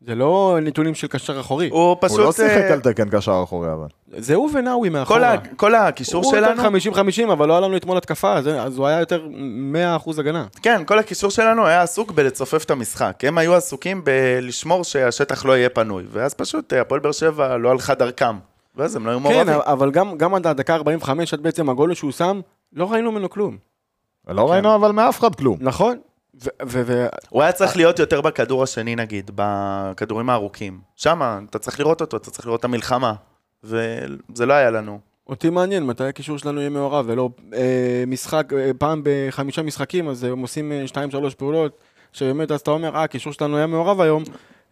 זה לא נתונים של קשר אחורי,
הוא
הוא לא
פשוט...
שיחק
אה,
על תקן קשר אחורי, אבל.
זה הוא ונאווי מאחורה.
כל ה- כל הקישור שלנו,
הוא לא יותר 50-50, אבל לא היה לנו אתמול התקפה, אז- אז הוא היה יותר 100% הגנה.
כן, כל הקישור שלנו היה עסוק בלצופף את המשחק. הם היו עסוקים בלשמור שהשטח לא יהיה פנוי. ואז פשוט אה, הפועל באר שבע לא הלכה דרכם. ואז הם לא היו
כן,
מעורבים.
אבל גם, גם עד הדקה 45, עד בעצם הגול שהוא שם, לא ראינו ממנו כלום.
כן.
לא ראינו אבל מאף אחד כלום.
נכון? ו- ו- ו-
הוא היה צריך להיות יותר בכדור השני נגיד, בכדורים הארוכים. שמה, אתה צריך לראות אותו, אתה צריך לראות את המלחמה. וזה לא היה לנו.
אותי מעניין מתי הקישור שלנו יהיה מעורב, ולא אה, משחק, אה, פעם בחמישה משחקים, אז הם עושים 2-3 פעולות, שבאמת אז אתה אומר, אה, הקישור שלנו היה מעורב היום.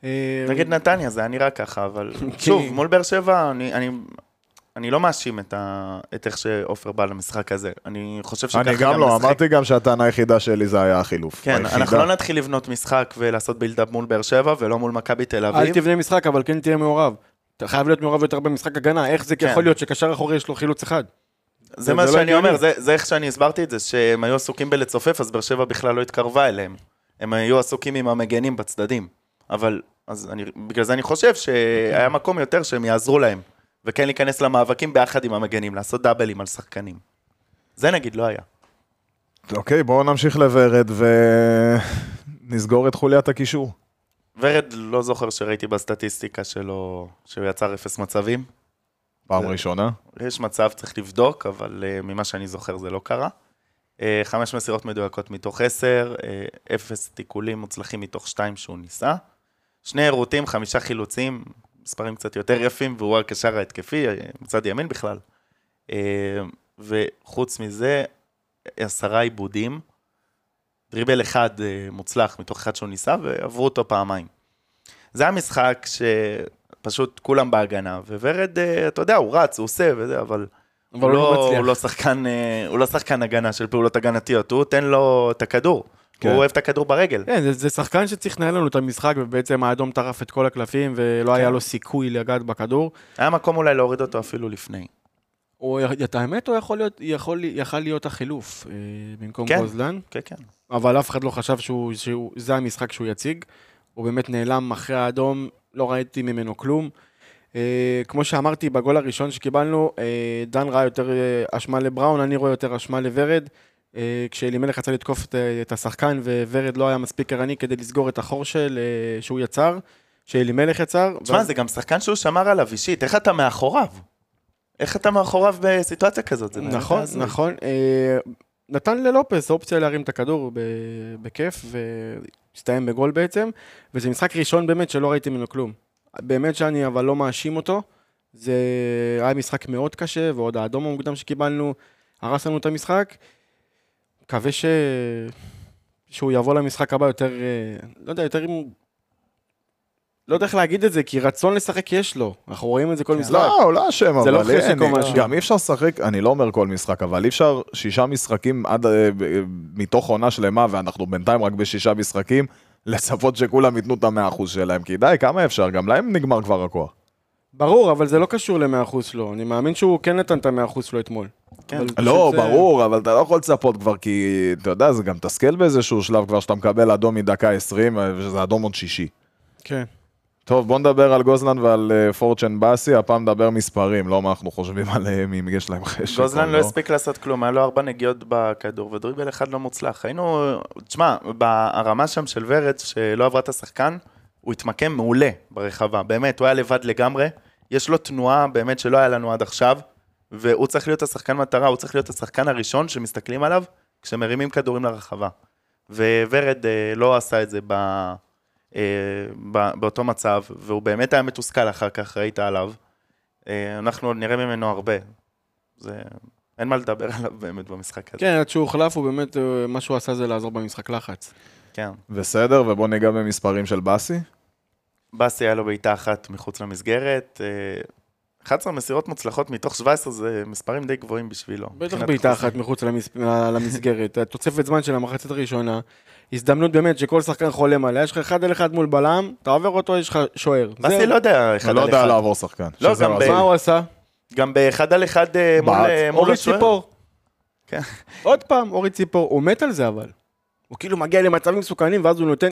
אה,
נגד נתניה זה היה נראה ככה, אבל
כן.
שוב, מול באר שבע, אני, אני, אני לא מאשים את, ה, את איך שעופר בא למשחק הזה. אני חושב שככה
אני גם לא,
נשחק.
אמרתי גם שהטענה היחידה שלי זה היה החילוף.
כן,
היחידה.
אנחנו לא נתחיל לבנות משחק ולעשות בילדאפ מול באר שבע ולא מול מכבי תל
אל
אביב.
תבנה משחק, אבל כן תהיה מעורב. אתה חייב להיות מעורב יותר במשחק הגנה, איך זה
כן.
יכול להיות שקשר אחורי יש לו חילוץ אחד?
זה
זה
מה
לא
שאני
הגיוני.
אומר, זה זה איך שאני הסברתי את זה, שהם היו עסוקים בלצופף, אז באר שבע בכלל לא התקרבה אליהם. הם היו עסוקים עם המגנים בצדדים. אבל, אז אני, בגלל זה אני חושב
אוקיי.
שהיה מקום יותר שהם יעזרו להם. וכן להיכנס למאבקים ביחד עם המגנים, לעשות דאבלים על שחקנים. זה נגיד לא היה.
אוקיי, בואו נמשיך לוורד ונסגור את חוליית הקישור.
ורד לא זוכר שראיתי בסטטיסטיקה שלו, שהוא יצר אפס מצבים.
פעם
זה-
ראשונה.
יש מצב, צריך לבדוק, אבל uh, ממה שאני זוכר זה לא קרה. Uh, חמש מסירות מדויקות מתוך עשר, uh, אפס תיקולים מוצלחים מתוך שתיים שהוא ניסה. שני עירותים, חמישה חילוצים, מספרים קצת יותר יפים, והוא הקשר ההתקפי, אה, מצד ימין בכלל. Uh, וחוץ מזה, עשרה עיבודים, דריבל אחד uh, מוצלח מתוך אחד שהוא ניסה, ועברו אותו פעמיים. זה המשחק שפשוט כולם בהגנה, וורד, אה, אתה יודע, הוא רץ, הוא עושה וזה, אבל
אבל הוא לא מצליח.
הוא לא שחקן, אה, הוא לא שחקן הגנה של פעולות הגנתיות, הוא תן לו את הכדור.
כן.
הוא אוהב את הכדור ברגל.
כן, זה, זה שחקן שצריך לנהל לנו את המשחק, ובעצם האדום טרף את כל הקלפים, ולא היה לו סיכוי לגעת בכדור.
היה מקום אולי להוריד אותו אפילו לפני.
או, את האמת, הוא יכול להיות, יכול, יכל להיות החילוף אה, במקום
כן.
גוזלן,
כן, כן.
אבל אף אחד לא חשב שהוא, שהוא, זה המשחק שהוא יציג. הוא באמת נעלם אחרי האדום, לא ראיתי ממנו כלום. אה, כמו שאמרתי, בגול הראשון שקיבלנו, אה, דן ראה יותר אה, אשמה לבראון, אני רואה יותר אשמה לוורד. אה, כשאלימלך רצה לתקוף את, אה, את השחקן, וורד לא היה מספיק ערני כדי לסגור את החור של, אה, שהוא יצר, שאלימלך יצר.
תשמע, זה גם שחקן שהוא שמר עליו אישית, איך אתה מאחוריו? איך אתה מאחוריו בסיטואציה כזאת? זה באמת
נכון,
הזוי.
נכון. אה, נתן ללופס אופציה להרים את הכדור ב- בכיף, והסתיים בגול בעצם, וזה משחק ראשון באמת שלא ראיתי ממנו כלום. באמת שאני אבל לא מאשים אותו, זה היה משחק מאוד קשה, ועוד האדום המוקדם שקיבלנו הרס לנו את המשחק. מקווה ש... שהוא יבוא למשחק הבא יותר, אה, לא יודע, יותר עם... לא יודע איך להגיד את זה, כי רצון לשחק יש לו. אנחנו רואים את זה כל משחק.
לא, הוא לא אשם,
זה לא
אבל
חסיקו
אין,
משהו.
גם אי אפשר לשחק, אני לא אומר כל משחק, אבל אי אפשר שישה משחקים עד, אה, ב- אה, מתוך עונה שלמה, ואנחנו בינתיים רק בשישה משחקים, לצפות שכולם ייתנו את המאה אחוז שלהם, כי די, כמה אפשר? גם להם נגמר כבר הכוח.
ברור, אבל זה לא קשור ל-100% שלו. אני מאמין שהוא כן נתן את ה-100% שלו אתמול.
כן.
אבל אני
לא,
חושב ש-
ברור, אבל אתה לא יכול לצפות כבר, כי אתה יודע, זה גם מתסכל באיזשהו שלב כבר שאתה מקבל אדום מדקה 20, וזה אדום עוד שישי.
כן.
טוב, בוא נדבר על גוזלן ועל אה, פורצ'ן באסי, הפעם נדבר מספרים, לא מה אנחנו חושבים עליהם, אם יש להם חשק.
גוזלן
או
לא הספיק לעשות כלום, היה לו ארבע נגיעות בכדור ודריבל אחד לא מוצלח. היינו, תשמע, ברמה שם של ורד, שלא עברה את השחקן, הוא התמקם מעולה ברחבה, באמת, הוא היה לבד לגמרי. יש לו תנועה באמת שלא היה לנו עד עכשיו, והוא צריך להיות השחקן מטרה, הוא צריך להיות השחקן הראשון שמסתכלים עליו כשמרימים כדורים לרחבה. וורד אה, לא עשה את זה ב, אה, ב, באותו מצב, והוא באמת היה מתוסכל אחר כך, ראית עליו. אה, אנחנו עוד נראה ממנו הרבה. זה... אין מה לדבר עליו באמת במשחק הזה.
כן, עד שהוא הוחלף, הוא באמת, אה, מה שהוא עשה זה לעזור במשחק לחץ.
כן.
בסדר, ובוא ניגע במספרים של באסי.
באסי היה לו בעיטה אחת מחוץ למסגרת. אה, 11 מסירות מוצלחות מתוך 17 זה מספרים די גבוהים בשבילו.
בטח
מבחינת
בעיטה
אחוזים.
אחת מחוץ למס- אה, למסגרת. התוספת זמן של המחצית הראשונה, הזדמנות באמת שכל שחקן חולם עליה, יש לך אחד על אחד מול בלם, אתה עובר אותו, יש לך שוער.
באסי
זהו.
לא יודע אחד
הוא לא
על
יודע
אחד.
לעבור שחקן.
לא,
שזה
גם
מה
ב-
זה.
אז מה הוא עשה?
גם באחד על אחד אה, מול
בעט.
אה, מול
אורי
השוער.
ציפור.
כן.
עוד פעם, אורי ציפור, הוא מת על זה אבל. הוא כאילו מגיע למצבים מסוכנים, ואז הוא נותן,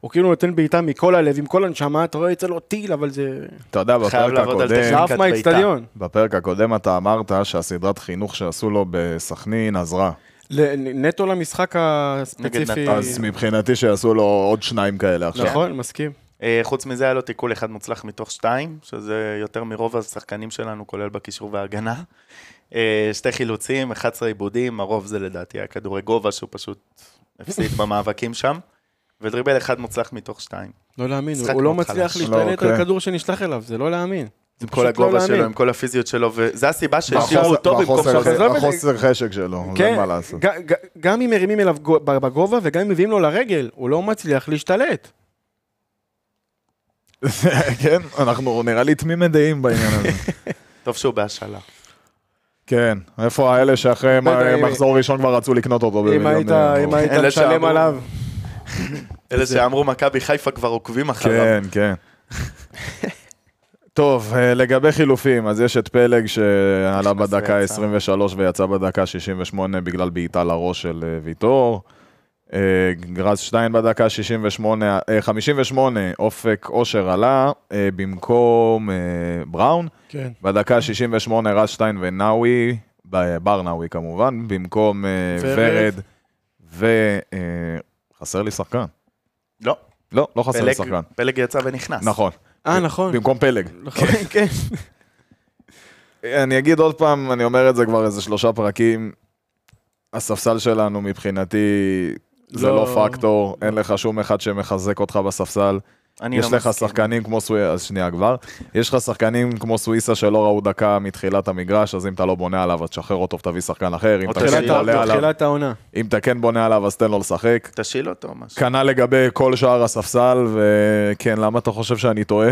הוא כאילו נותן בעיטה מכל הלב, עם כל הנשמה, אתה רואה יוצא לו טיל, אבל זה...
אתה יודע,
חייב
בפרק
לעבוד על
הקודם,
טכניקה.
שאף
בעיטה.
מהאיצטדיון.
בפרק הקודם אתה אמרת שהסדרת חינוך שעשו לו בסכנין עזרה.
ל- נטו למשחק הספציפי.
נתניה.
אז מבחינתי שיעשו לו עוד שניים כאלה עכשיו.
אה. נכון, מסכים.
אה, חוץ מזה היה לו תיקול אחד מוצלח מתוך שתיים, שזה יותר מרוב השחקנים שלנו, כולל בקישור וההגנה. אה, שתי חילוצים, 11 עיבודים, הרוב זה לדעתי היה כדורי גובה שהוא פשוט הפסיד במאבקים שם. ודריבל אחד מוצלח מתוך שתיים.
לא להאמין,
משחק
הוא לא
מאוד
מצליח
חלש.
לא,
להשתלט
אוקיי.
על כדור שנשלח אליו, זה לא להאמין.
עם
פשוט
כל
לא
הגובה
להאמין.
שלו, עם כל הפיזיות שלו, וזו הסיבה שהשאירו
והחוסר-
אותו במקום
והחוסר-
שחזר.
עזוב את זה.
החוסר חשק שלו, זה
כן,
אין לא מה לעשות.
ג- ג- גם אם מרימים אליו גו- בגובה וגם אם מביאים לו לרגל, הוא לא מצליח להשתלט.
כן, אנחנו נראה לי תמימי דעים בעניין הזה.
טוב שהוא בהשאלה.
כן, איפה האלה שאחרי
בטח, אם-
מחזור ראשון כבר רצו לקנות אותו
אם
במיליון
היית אם
דולר?
היית
אלה
משלם
שאמרו.
עליו,
אלה שאמרו מכבי חיפה כבר עוקבים אחריו.
כן, כן. טוב, אה, לגבי חילופים, אז יש את פלג שעלה
נכנס
בדקה
ויצא.
23 ויצא בדקה 68 בגלל בעיטה לראש של אה, ויטור. אה, גרז שטיין בדקה 68, אה, 58, אופק אושר עלה אה, במקום אה, בראון.
כן.
בדקה 68 רז שטיין ונאווי, ב- ברנאווי כמובן, במקום אה,
ורד.
ורד. וחסר לי שחקן.
לא,
לא, לא חסר לי
פלג-
שחקן.
פלג יצא ונכנס.
נכון.
אה, נכון.
במקום פלג.
נכון, כן.
אני אגיד עוד פעם, אני אומר את זה כבר איזה שלושה פרקים, הספסל שלנו מבחינתי זה
לא.
לא פקטור, אין לך שום אחד שמחזק אותך בספסל.
אני
יש
לא
לך
מסכים.
שחקנים כמו סוויסה, אז שנייה כבר, יש לך שחקנים כמו סוויסה שלא ראו דקה מתחילת המגרש, אז אם אתה לא בונה עליו, אז תשחרר אותו ותביא שחקן אחר, אם
או
אתה
תשאיר
כן
תחילת
תשאיר
בונה
ה-
עליו-
תחילת העונה.
אם אתה כן בונה עליו, אז תן לו לשחק.
תשאיל אותו או משהו.
כנ"ל לגבי כל שאר הספסל, וכן, למה אתה חושב שאני טועה?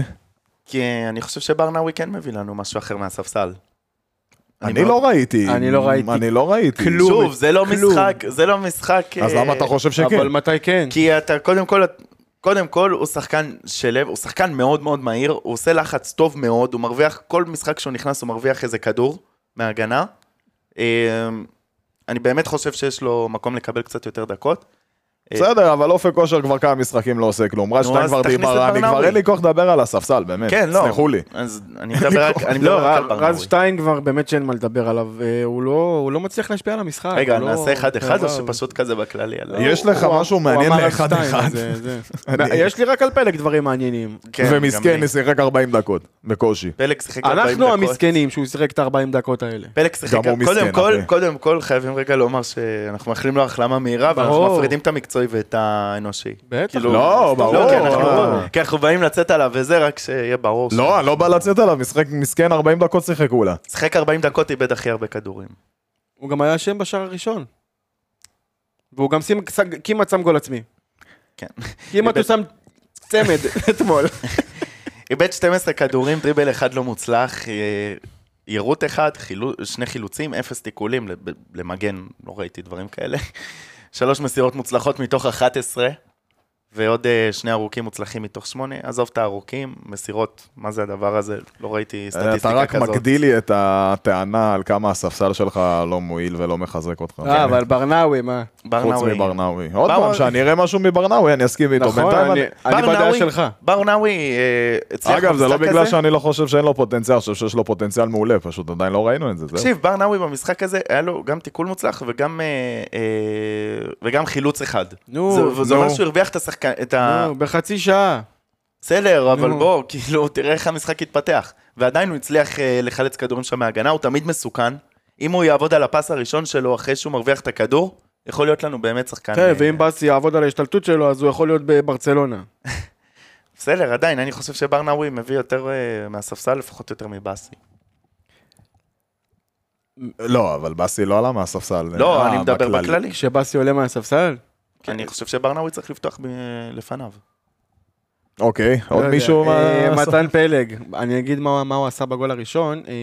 כי אני חושב שברנאווי כן מביא לנו משהו אחר מהספסל.
אני לא ראיתי.
אני לא ראיתי
אני לא ראיתי.
כלום.
שוב, זה לא
כלום.
משחק, זה לא משחק...
אז
אה,
למה אתה חושב שכן?
אבל מתי כן?
כי אתה קודם כל, קודם כל הוא שחקן שלו, הוא שחקן מאוד מאוד מהיר, הוא עושה לחץ טוב מאוד, הוא מרוויח, כל משחק שהוא נכנס הוא מרוויח איזה כדור מהגנה. אה, אני באמת חושב שיש לו מקום לקבל קצת יותר דקות.
בסדר, אבל אופק כושר כבר כמה משחקים לא עושה כלום. רז
נו,
שטיין
אז
כבר
תכניס את
דיבר, אני כבר
ברנאווי.
אין לי כוח לדבר על הספסל, באמת.
כן, לא.
סלחו לי.
אז אני מדבר רק, אני מדבר
לא,
רק על
רז
ברנאווי.
שטיין כבר באמת שאין מה לדבר עליו, אה, הוא לא- הוא לא מצליח להשפיע על המשחק.
רגע,
הוא לא-
נעשה אחד-אחד או
וואו.
שפשוט כזה בכללי? לא- על ה-
יש לך
הוא-
משהו
הוא
מעניין
אמר על
לאחד
שטיין,
אחד?
זה- זה.
אני-
יש לי רק על פלג דברים מעניינים.
כן, גם
ומסכן,
לי.
שיחק 40 דקות, בקושי.
פלג שיחק 40 דקות.
אנחנו המסכנים שהוא שיחק את 40 דקות האלה.
פלג שיחק,
גם הוא
קודם
מסכן, אוקיי.
כל,
אחי.
קודם כל חייבים רגע לומר שאנחנו מאחלים לו החלמה מהירה, ואנחנו
ברור.
מפרידים את המקצועי ואת האנושי.
בטח.
כאילו,
לא,
לא, כי
ברור.
אנחנו-
אה.
כי אנחנו באים לצאת עליו וזה, רק שיהיה ברור.
לא, אני לא בא לצאת עליו, משחק מסכן 40 דקות שיחק אולה.
שיחק 40 דקות, איבד הכי הרבה כדורים.
הוא גם היה אשם בשער הראשון. והוא גם שים- כמעט שם גול עצמי.
כן.
כמעט הוא שם צמד אתמול.
איבד 12 כדורים, דריבל אחד לא מוצלח, אה, יירוט אחד, חילו, שני חילוצים, אפס תיקולים, לב- למגן לא ראיתי דברים כאלה. שלוש מסירות מוצלחות מתוך 11, ועוד אה, שני ארוכים מוצלחים מתוך שמונה. עזוב את הארוכים, מסירות, מה זה הדבר הזה? לא ראיתי
אה, אתה
סטטיסטיקה
רק
כזאת.
מגדיל לי את הטענה על כמה הספסל שלך לא מועיל ולא מחזק אותך.
אה, אבל ברנאווי, מה?
חוץ
ברנאווי.
מברנאווי. עוד פעם,
ברנאווי.
שאני אראה משהו מברנאווי, אני אסכים איתו.
נכון,
בינתיים
אני-
אני-
אני
ברנאווי-
בדעה שלך.
ברנאווי אה, הצליח
אגב, זה לא
במשחק
בגלל
הזה.
שאני לא חושב שאין לו פוטנציאל, אני חושב שיש לו פוטנציאל מעולה, פשוט עדיין לא ראינו את זה. זהו.
תקשיב, ברנאווי במשחק הזה, היה לו גם תיקול מוצלח וגם, אה, אה, וגם חילוץ אחד.
נו,
זה- זה
נו.
אומר שהוא הרוויח את השחקן, את ה...
נו, בחצי שעה.
בסדר, אבל
נו.
בוא, כאילו, תראה איך המשחק התפתח. ועדיין הוא הצליח אה, לחלץ כדורים שם מההגנה, הוא תמיד מסוכן. אם הוא יעבוד על הפס הראשון שלו אחרי שהוא מרוויח את הכדור, יכול להיות לנו באמת שחקן...
תראה,
אה,
כן, ואם באסי יעבוד על ההשתלטות שלו, אז הוא יכול להיות בברצלונה.
בסדר, עדיין, אני חושב שברנאווי מביא יותר אה, מהספסל, לפחות יותר מבאסי.
לא, אבל באסי לא עלה מהספסל.
לא,
אה,
אני מדבר בכללי. כן.
כשבאסי עולה מהספסל?
אני חושב שברנאווי צריך לפתוח ב- לפניו.
אוקיי, עוד
לא יודע.
מישהו
אה,
מה...
מתן פלג, אני אגיד מה מה הוא עשה בגול הראשון. אה,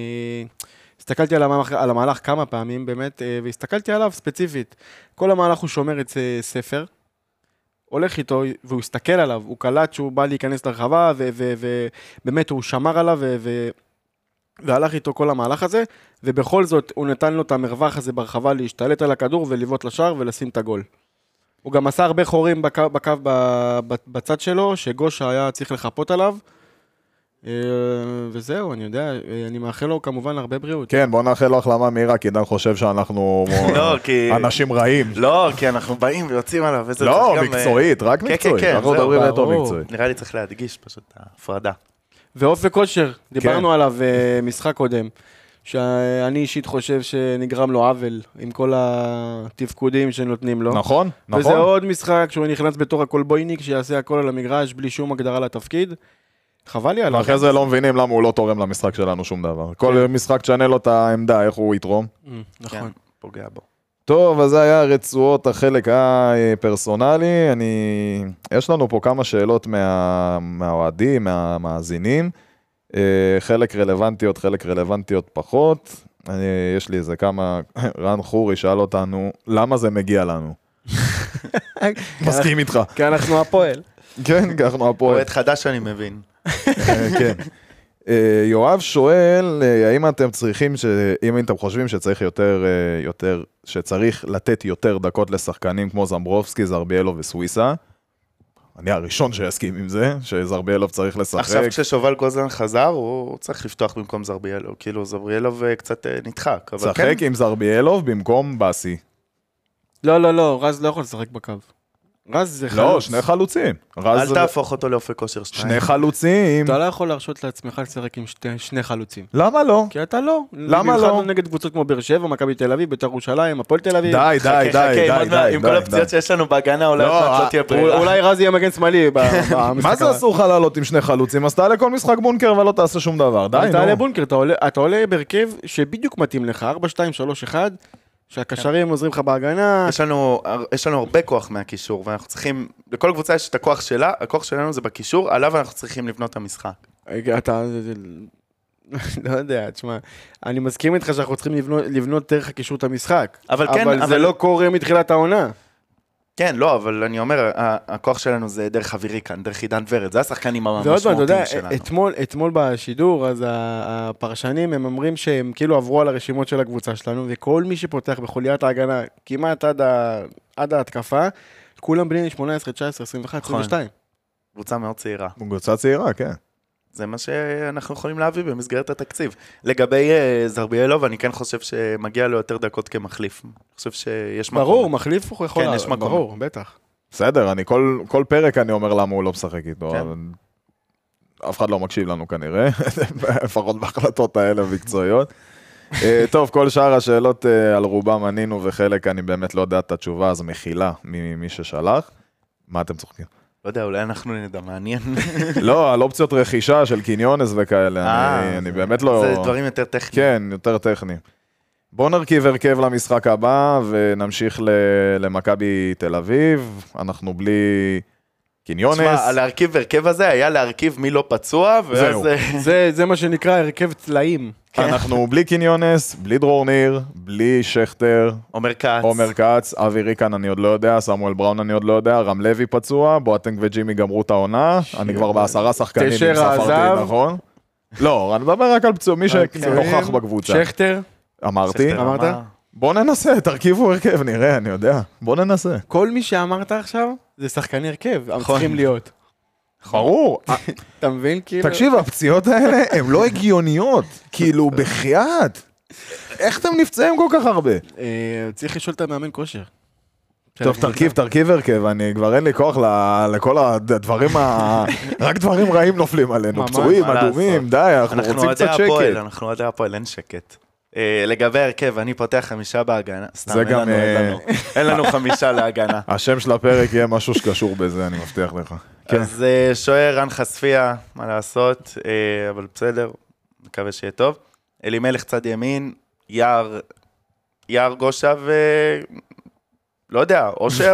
הסתכלתי על המהלך, על המהלך כמה פעמים באמת, אה, והסתכלתי עליו ספציפית. כל המהלך הוא שומר את אה, ספר, הולך איתו והוא הסתכל עליו, הוא קלט שהוא בא להיכנס לרחבה, ובאמת הוא שמר עליו ו- ו- והלך איתו כל המהלך הזה, ובכל זאת הוא נתן לו את המרווח הזה ברחבה להשתלט על הכדור ולבעוט לשער ולשים את הגול. הוא גם עשה הרבה חורים בקו, בקו ב- ב- בצד שלו, שגושה היה צריך לחפות עליו. אה, וזהו, אני יודע, אה, אני מאחל לו כמובן הרבה בריאות.
כן, בוא נאחל לו החלמה מהירה, כי עידן חושב שאנחנו
לא, כי...
אנשים רעים.
לא, כי אנחנו באים ויוצאים עליו, וזה
לא,
צריך גם, אה,
מקצועית, רק
כן,
מקצועית.
כן,
אנחנו
זהו,
מדברים
ברור.
רטו מקצועית.
נראה לי צריך להדגיש פשוט את ההפרדה.
ועוף וכושר,
כן.
דיברנו עליו אה, משחק קודם, שאני אישית חושב שנגרם לו עוול עם כל התפקודים שנותנים
לא.
לו.
נכון,
וזה
נכון.
עוד משחק שהוא נכנס בתור הכולבויניק, שיעשה הכל על המגרש בלי שום הגדרה לתפקיד. חבל לי עליו.
ואחרי זה לא מבינים למה הוא לא תורם למשחק שלנו שום דבר. כל משחק תשנה לו את העמדה, איך הוא יתרום.
אה, נכון.
כן, פוגע בו.
טוב, אז זה היה רצועות החלק הפרסונלי. אני... יש לנו פה כמה שאלות מה... מהאוהדים, מהמאזינים. אה, חלק רלוונטיות, חלק רלוונטיות פחות. אני, יש לי איזה כמה... רן חורי שאל אותנו, למה זה מגיע לנו? מסכים איתך.
כי אנחנו הפועל.
כן, אנחנו הפועל.
אוהד חדש אני מבין.
אה, כן. אה, יואב שואל, אה, האם אתם צריכים, ש... אם אתם חושבים שצריך יותר, אה, יותר, שצריך לתת יותר דקות לשחקנים כמו זמברובסקי, זרביאלוב וסוויסה? אני הראשון שיסכים עם זה, שזרביאלוב צריך לשחק.
עכשיו כששובל גוזלן חזר, הוא צריך לפתוח במקום זרביאלוב. כאילו, זרביאלוב אה, קצת אה, נדחק. אבל
שחק
כן,
עם זרביאלוב במקום באסי.
לא, לא, לא, רז לא יכול לשחק בקו. רז זה חלוץ.
לא, שני חלוצים. רז...
אל תהפוך אותו לאופק כושר שניים.
שני חלוצים.
אתה לא יכול להרשות לעצמך לשחק עם שתי, שני חלוצים.
למה לא?
כי אתה לא.
למה לא?
במיוחד נגד קבוצות כמו באר שבע, מכבי תל אביב, בית"ר ירושלים, הפועל תל אביב.
די, די,
חכה,
די,
חכה,
די,
עם
די,
עוד מעט-
די,
עם כל
די.
הפציעות שיש לנו בהגנה, אולי
לא,
עוד מעט
אה,
לא תהיה
אול-
ברירה.
אולי רז יהיה מגן שמאלי ב- במשחק
מה זה
הבא.
אסור לך לעלות עם שני חלוצים? אז תעלה כל משחק בונקר ולא תעשה שום דבר. די,
אבל
נו.
אתה עולה בונקר, אתה עולה- אתה עולה בהרכב שבדיוק מתאים לך, 4, 2, 3, 1, שהקשרים עוזרים לך בהגנה.
יש לנו, יש לנו הרבה כוח מהקישור, ואנחנו צריכים, לכל קבוצה יש את הכוח שלה, הכוח שלנו זה בקישור, עליו אנחנו צריכים לבנות את המשחק.
רגע, אתה... לא יודע, תשמע, אני מסכים איתך שאנחנו צריכים לבנות- לבנות דרך הקישור את המשחק.
אבל כן,
אבל זה
אבל-
לא קורה מתחילת העונה.
כן, לא, אבל אני אומר, ה- הכוח שלנו זה דרך אווירי כאן, דרך עידן ורד, זה השחקנים
ועוד פעם, אתה יודע,
המשמעותיים שלנו.
אתמול, אתמול בשידור, אז ה- הפרשנים, הם אומרים שהם כאילו עברו על הרשימות של הקבוצה שלנו, וכל מי שפותח בחוליית ההגנה, כמעט עד, ה, עד ההתקפה, כולם בני 18, 19, 21,
נכון.
22.
קבוצה מאוד צעירה.
קבוצה צעירה, כן.
זה מה שאנחנו יכולים להביא במסגרת התקציב. לגבי אה, זרביאלוב, אני כן חושב שמגיע לו יותר דקות כמחליף. אני חושב שיש מקום.
ברור, מחליף הוא יכול...
כן,
לה-
יש מקום.
ברור, בטח.
בסדר, אני כל, כל פרק אני אומר למה הוא לא משחק איתו.
כן.
אבל... אף אחד לא מקשיב לנו כנראה, לפחות בהחלטות האלה המקצועיות. אה, טוב, כל שאר השאלות אה, על רובם ענינו, וחלק אני באמת לא יודע את התשובה, אז מחילה ממי ששלח. מה אתם צוחקים?
לא יודע, אולי אנחנו נדע, מעניין.
לא, על אופציות רכישה של קיניונס וכאלה,
אה,
אני, אני
זה-
באמת לא...
זה דברים יותר טכניים.
כן, יותר טכני. בואו נרכיב הרכב למשחק הבא ונמשיך ל- למכבי תל אביב. אנחנו בלי קיניונס,
תשמע, להרכיב הרכב הזה היה להרכיב מי לא פצוע,
זהו.
ואז... אה,
זה, זה מה שנקרא הרכב טלאים.
אנחנו בלי קיניונס, בלי דרור ניר, בלי שכטר,
עומר כץ.
עומר כץ, אבי ריקן אני עוד לא יודע, סמואל בראון אני עוד לא יודע, רם לוי פצוע, בואטנק וג'ימי גמרו את העונה, אני כבר בעשרה שחקנים, אם
תשרה
ספרתי,
עזב.
נכון? לא, אני מדבר רק על פצועים, מי שנוכח בקבוצה.
אוקיי. שכטר,
אמרתי,
שכטר
אמרת?
אמר,
בוא ננסה, תרכיבו הרכב, נראה, אני יודע. בוא ננסה.
כל מי שאמרת עכשיו, זה שחקני הרכב, הם
נכון.
צריכים להיות.
ברור.
אתה מבין? כאילו...
אה, תקשיב, הפציעות האלה הן לא הגיוניות. כאילו, בחייאת. איך אתם נפצעים כל כך הרבה?
אה, צריך לשאול את המאמן כושר. כן,
טוב, תרכיב, תרכיב הרכב, אני כבר אין לי כוח ל- לכל הד- הדברים ה... רק דברים רעים נופלים עלינו.
ממש,
פצועים,
מה
אדומים,
לעשות.
די, אנחנו
אנחנו
רוצים
אוהדי
קצת
הפועל,
שקט.
אנחנו אוהדי הפועל, אין שקט. אה, לגבי ההרכב, אני פותח חמישה בהגנה. סתם,
זה
אין
גם,
לנו, אין
אה,
לנו. אין לנו חמישה להגנה.
השם של הפרק יהיה משהו שקשור בזה, אני מבטיח לך. כן.
אז אה, שוער רן חשפיה, מה לעשות, אה, אבל בסדר, מקווה שיהיה טוב. אלימלך צד ימין, יער, יער גושה ו... לא יודע, אושר,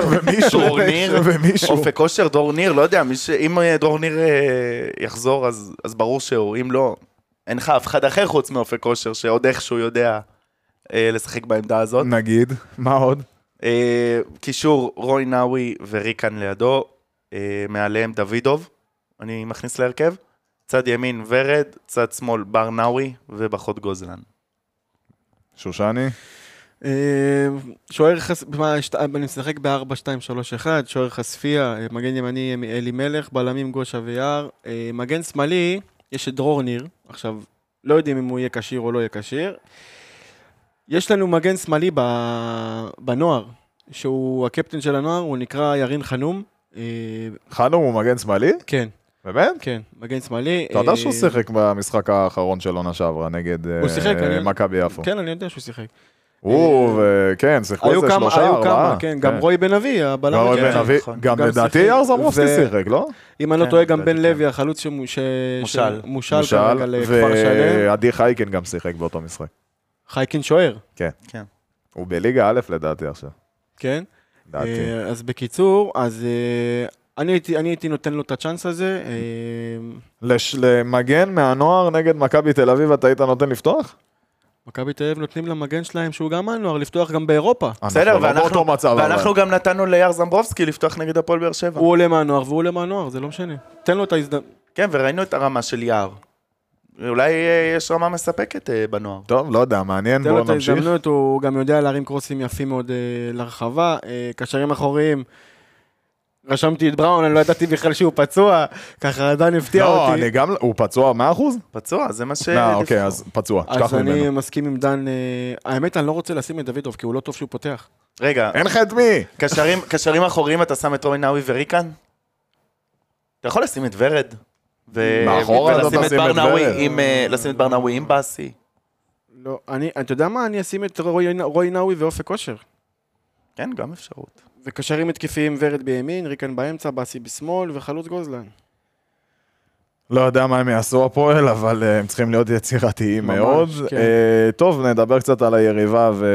דרור ניר,
ומישהו.
אופק אושר, דרור ניר, לא יודע, מי ש... אם אה, דרור ניר אה, יחזור, אז, אז ברור שהוא, אם לא, אין לך אף אחד אחר חוץ מאופק אושר, שעוד איכשהו יודע אה, לשחק בעמדה הזאת.
נגיד, מה עוד?
אה, קישור, רוי נאווי וריקן לידו, אה, מעליהם דוידוב, אני מכניס להרכב. צד ימין ורד, צד שמאל בר נאווי ובחוד גוזלן.
שושני?
אה, שוער חס... מה, שת- אני משחק ב-4-2-3-1, שוער חשפיה, אה, מגן ימני אה, אלי מלך, בלמים גושה ויער. אה, מגן שמאלי, יש את דרור ניר, עכשיו, לא יודעים אם הוא יהיה כשיר או לא יהיה כשיר. יש לנו מגן שמאלי ב... בנוער, שהוא הקפטן של הנוער, הוא נקרא ירין חנום. אה,
חנום הוא מגן שמאלי?
כן,
באמת?
כן, מגן שמאלי.
אתה יודע
אה,
שהוא שיחק במשחק האחרון של עונה שעברה נגד אה,
הוא שיחק, אני-
מכבי יפו.
כן, אני יודע שהוא שיחק.
הוא, ו- כן, שיחקו
היו
איזה
כמה,
שלושה,
היו
ארבעה.
כמה, כן, גם רוי בן אבי, הבלם.
גם רוי
הגנה.
בן אבי,
נכון.
גם
גם
לדעתי
שיחק.
יאר זמרובסקי
ו-
שיחק, לא?
אם אני לא
כן,
טועה, גם בן
לדעתי
לוי, החלוץ שמו- ש-
מושל.
שמושל
למשל,
כרגע לכפר אה, שלם.
ועדי חייקין גם שיחק באותו משחק.
חייקין שוער,
הוא בליגה א' לדעתי עכשיו.
כן?
לדעתי.
אה, אז בקיצור, אז אה, אני הייתי- אני הייתי נותן לו את הצ'אנס הזה. אה,
לש- למגן מהנוער נגד מכבי תל אביב אתה היית נותן לפתוח?
מכבי תל אביב נותנים למגן שלהם, שהוא גם מהנוער, לפתוח גם באירופה.
בסדר,
אנחנו לא באותו מצב. אבל.
ואנחנו גם נתנו ליער זמברובסקי לפתוח נגד הפועל באר שבע.
הוא עולה מהנוער והוא עולה מהנוער, זה לא משנה. תן לו את ההזדמנות.
כן, וראינו את הרמה של יער. אולי אה, יש רמה מספקת אה, בנוער.
טוב, לא יודע, מעניין,
תן לו
בואו
את
נמשיך.
ההזדמנות, הוא גם יודע להרים קרוסים יפים מאוד אה, לרחבה. אה, קשרים אחוריים, רשמתי את בראון, אני לא ידעתי בכלל שהוא פצוע, ככה עדיין הפתיע אותי.
לא, אני גם, הוא פצוע 100%?
פצוע, זה מה ש...
לא, אוקיי, אז פצוע, תשכח
אז אני
ממנו.
מסכים עם דן, אה, האמת אני לא רוצה לשים את דוידוב כי הוא לא טוב שהוא פותח.
רגע,
אין לך את מי?
קשרים- קשרים אחוריים אתה שם את רוי נאווי וריקן? אתה יכול לשים את ורד. ו-
מאחורה
ולשים
אתה
את
תשים את
ברנאווי
ורד.
עם, אה, לשים את ברנאווי עם באסי.
לא, אני, אתה יודע מה, אני אשים את רוי- רוי נאווי ואופק אושר.
כן, גם אפשרות.
וקשרים התקפיים ורד בימין, ריקן באמצע, באסי בשמאל וחלוץ גוזלן.
לא יודע מה הם יעשו הפועל, אבל אה, הם צריכים להיות יצירתיים
ממש,
מאוד.
כן.
אה, טוב, נדבר קצת על היריבה ו...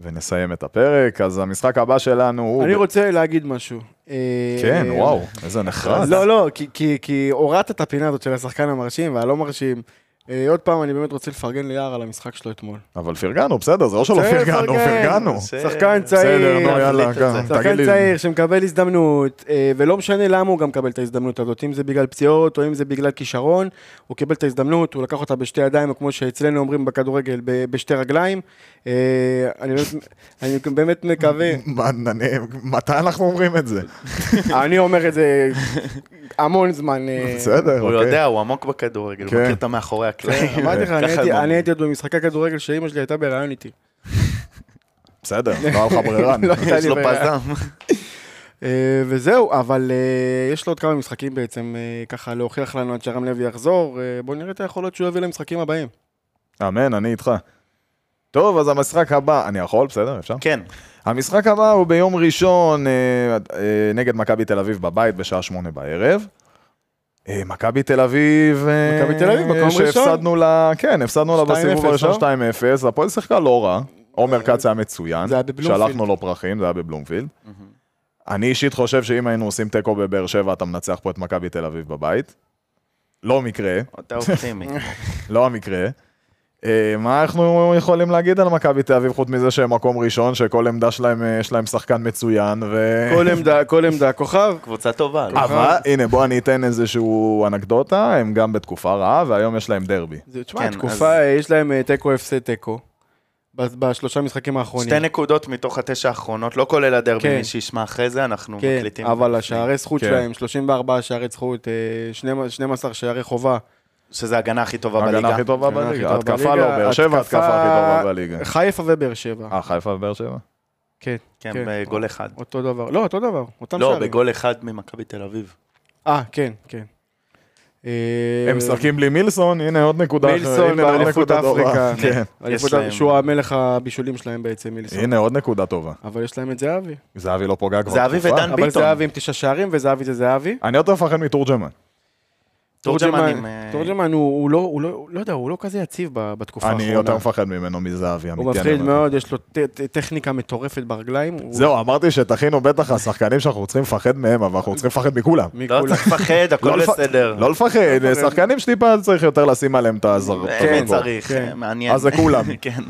ונסיים את הפרק. אז המשחק הבא שלנו הוא...
אני
ב-
רוצה להגיד משהו. אה,
כן,
אה,
וואו, איזה נחרץ.
לא, לא, כי- כי- כי הורדת את הפינה הזאת של השחקן המרשים והלא מרשים. אה, עוד פעם, אני באמת רוצה לפרגן ליער על המשחק שלו אתמול.
אבל פרגנו, בסדר, זה לא שלא
בסדר,
פרגנו,
פרגן.
פרגנו.
ש-
שחקן
בסדר,
צעיר.
נו, יאללה,
להחליט את
גם.
זה.
תגיד
שחקן
לי.
צעיר שמקבל הזדמנות, אה, ולא משנה למה הוא גם מקבל את ההזדמנות הזאת, אם זה בגלל פציעות או אם זה בגלל כישרון, הוא קיבל את ההזדמנות, הוא לקח אותה בשתי ידיים, או כמו שאצלנו אומרים בכדורגל, ב- בשתי רגליים. אה, אני באמת- אני באמת מקווה,
מה, אני- מתי אנחנו אומרים את זה?
אה, אני אומר את זה המון זמן. אה,
בסדר,
הוא
אוקיי.
יודע, הוא עמוק בכדורגל, הוא
כן.
מכיר את המאחורי הקלעים.
אמרתי לך, אני
ככה
הייתי-
הם
אני
אומרים.
הייתי עוד במשחקי כדורגל שאימא שלי הייתה בהיריון איתי.
בסדר, לא היה לך ברירה. אני-
לא הייתה
יש
לי
לו
ברירה.
פזם.
אה, וזהו, אבל אה, יש לו עוד כמה משחקים בעצם, אה, ככה להוכיח לנו עד שרם לוי יחזור. אה, בואו נראה את היכולות שהוא יביא למשחקים הבאים.
אמן, אני איתך. טוב, אז המשחק הבא, אני יכול? בסדר, אפשר?
כן,
המשחק הבא הוא ביום ראשון אה, אה, נגד מכבי תל אביב בבית בשעה שמונה בערב. אה, מכבי תל אביב, אה,
מכבי תל אביב, מקום
שהפסדנו לה, כן, הפסדנו לה
2-0,
בסיבוב הראשון
לא? אה,
2-0, הפועל שיחקה לא רע, עומר כץ היה מצוין,
זה היה בבלומפילד.
שלחנו לו פרחים, זה היה בבלומפילד. אני אישית חושב שאם היינו עושים תיקו בבאר שבע, אתה מנצח פה את מכבי תל אביב בבית. לא מקרה,
אתה אופטימי.
לא המקרה. אה, מה אנחנו יכולים להגיד על מכבי תל אביב, חוץ מזה שהם מקום ראשון, שכל עמדה שלהם, אה, יש להם שחקן מצוין, ו...
כל עמדה, כל עמדה כוכב.
קבוצה טובה. לא?
אבל, הנה, בוא אני אתן איזשהו אנקדוטה, הם גם בתקופה רעה, והיום יש להם דרבי.
זה, תשמע,
כן,
תקופה,
אז-
אה, יש להם אה, תיקו הפסד תיקו. בש- בשלושה משחקים האחרונים.
שתי נקודות מתוך התשע האחרונות, לא כולל הדרבי,
כן.
מי שישמע אחרי זה, אנחנו
כן,
מקליטים.
אבל השערי זכות
כן.
שלהם, 34 שערי זכות, אה, 12 שערי חובה.
שזה ההגנה הכי טובה
ההגנה
בליגה.
הכי טובה
הגנה הכי
בליגה,
טובה
התקפה לא,
בליגה,
באר שבע התקפה הכי טובה בליגה.
חיפה ובאר שבע.
אה, חיפה ובאר שבע?
כן,
כן,
כן.
בגול אחד.
אותו דבר. לא, אותו דבר, אותם
לא,
שערים.
בגול אחד ממכבי תל אביב.
אה, כן, כן. אה,
הם משחקים בלי מילסון, הנה עוד נקודה.
מילסון
הנה, עוד
באליפות
נקודה טובה.
אפריקה.
כן.
אליפות
יש להם-
אפ- שהוא המלך הבישולים שלהם בעצם, מילסון.
הנה עוד נקודה טובה.
אבל יש להם את זהבי.
זהבי לא פוגע כבר
זהבי
תקופה.
ודן-
אבל
ביטון.
זהבי עם תשעה שערים, וזהבי זה זהבי.
אני יותר מפחד מתורג'מן.
תורג'מנים... אה,
תורג'מן הוא הוא לא, הוא לא, הוא לא יודע, הוא לא כזה יציב ב- בתקופה
אני
האחרונה.
יותר מפחד ממנו מזהבי, אמיתי.
כן
הוא
אני
מפחיד
אומר.
מאוד, יש לו ט- ט- טכניקה מטורפת ברגליים. הוא-
זהו, אמרתי שתכינו בטח השחקנים שאנחנו צריכים לפחד מהם, אבל אנחנו צריכים לפחד מכולם.
לא
מכולם.
צריך לפחד,
לא
הכל
לפ-
בסדר.
לא לפחד, שחקנים שטיפה צריך יותר לשים עליהם את הזר.
כן, צריך,
כן.
מעניין.
אז זה כולם.
כן.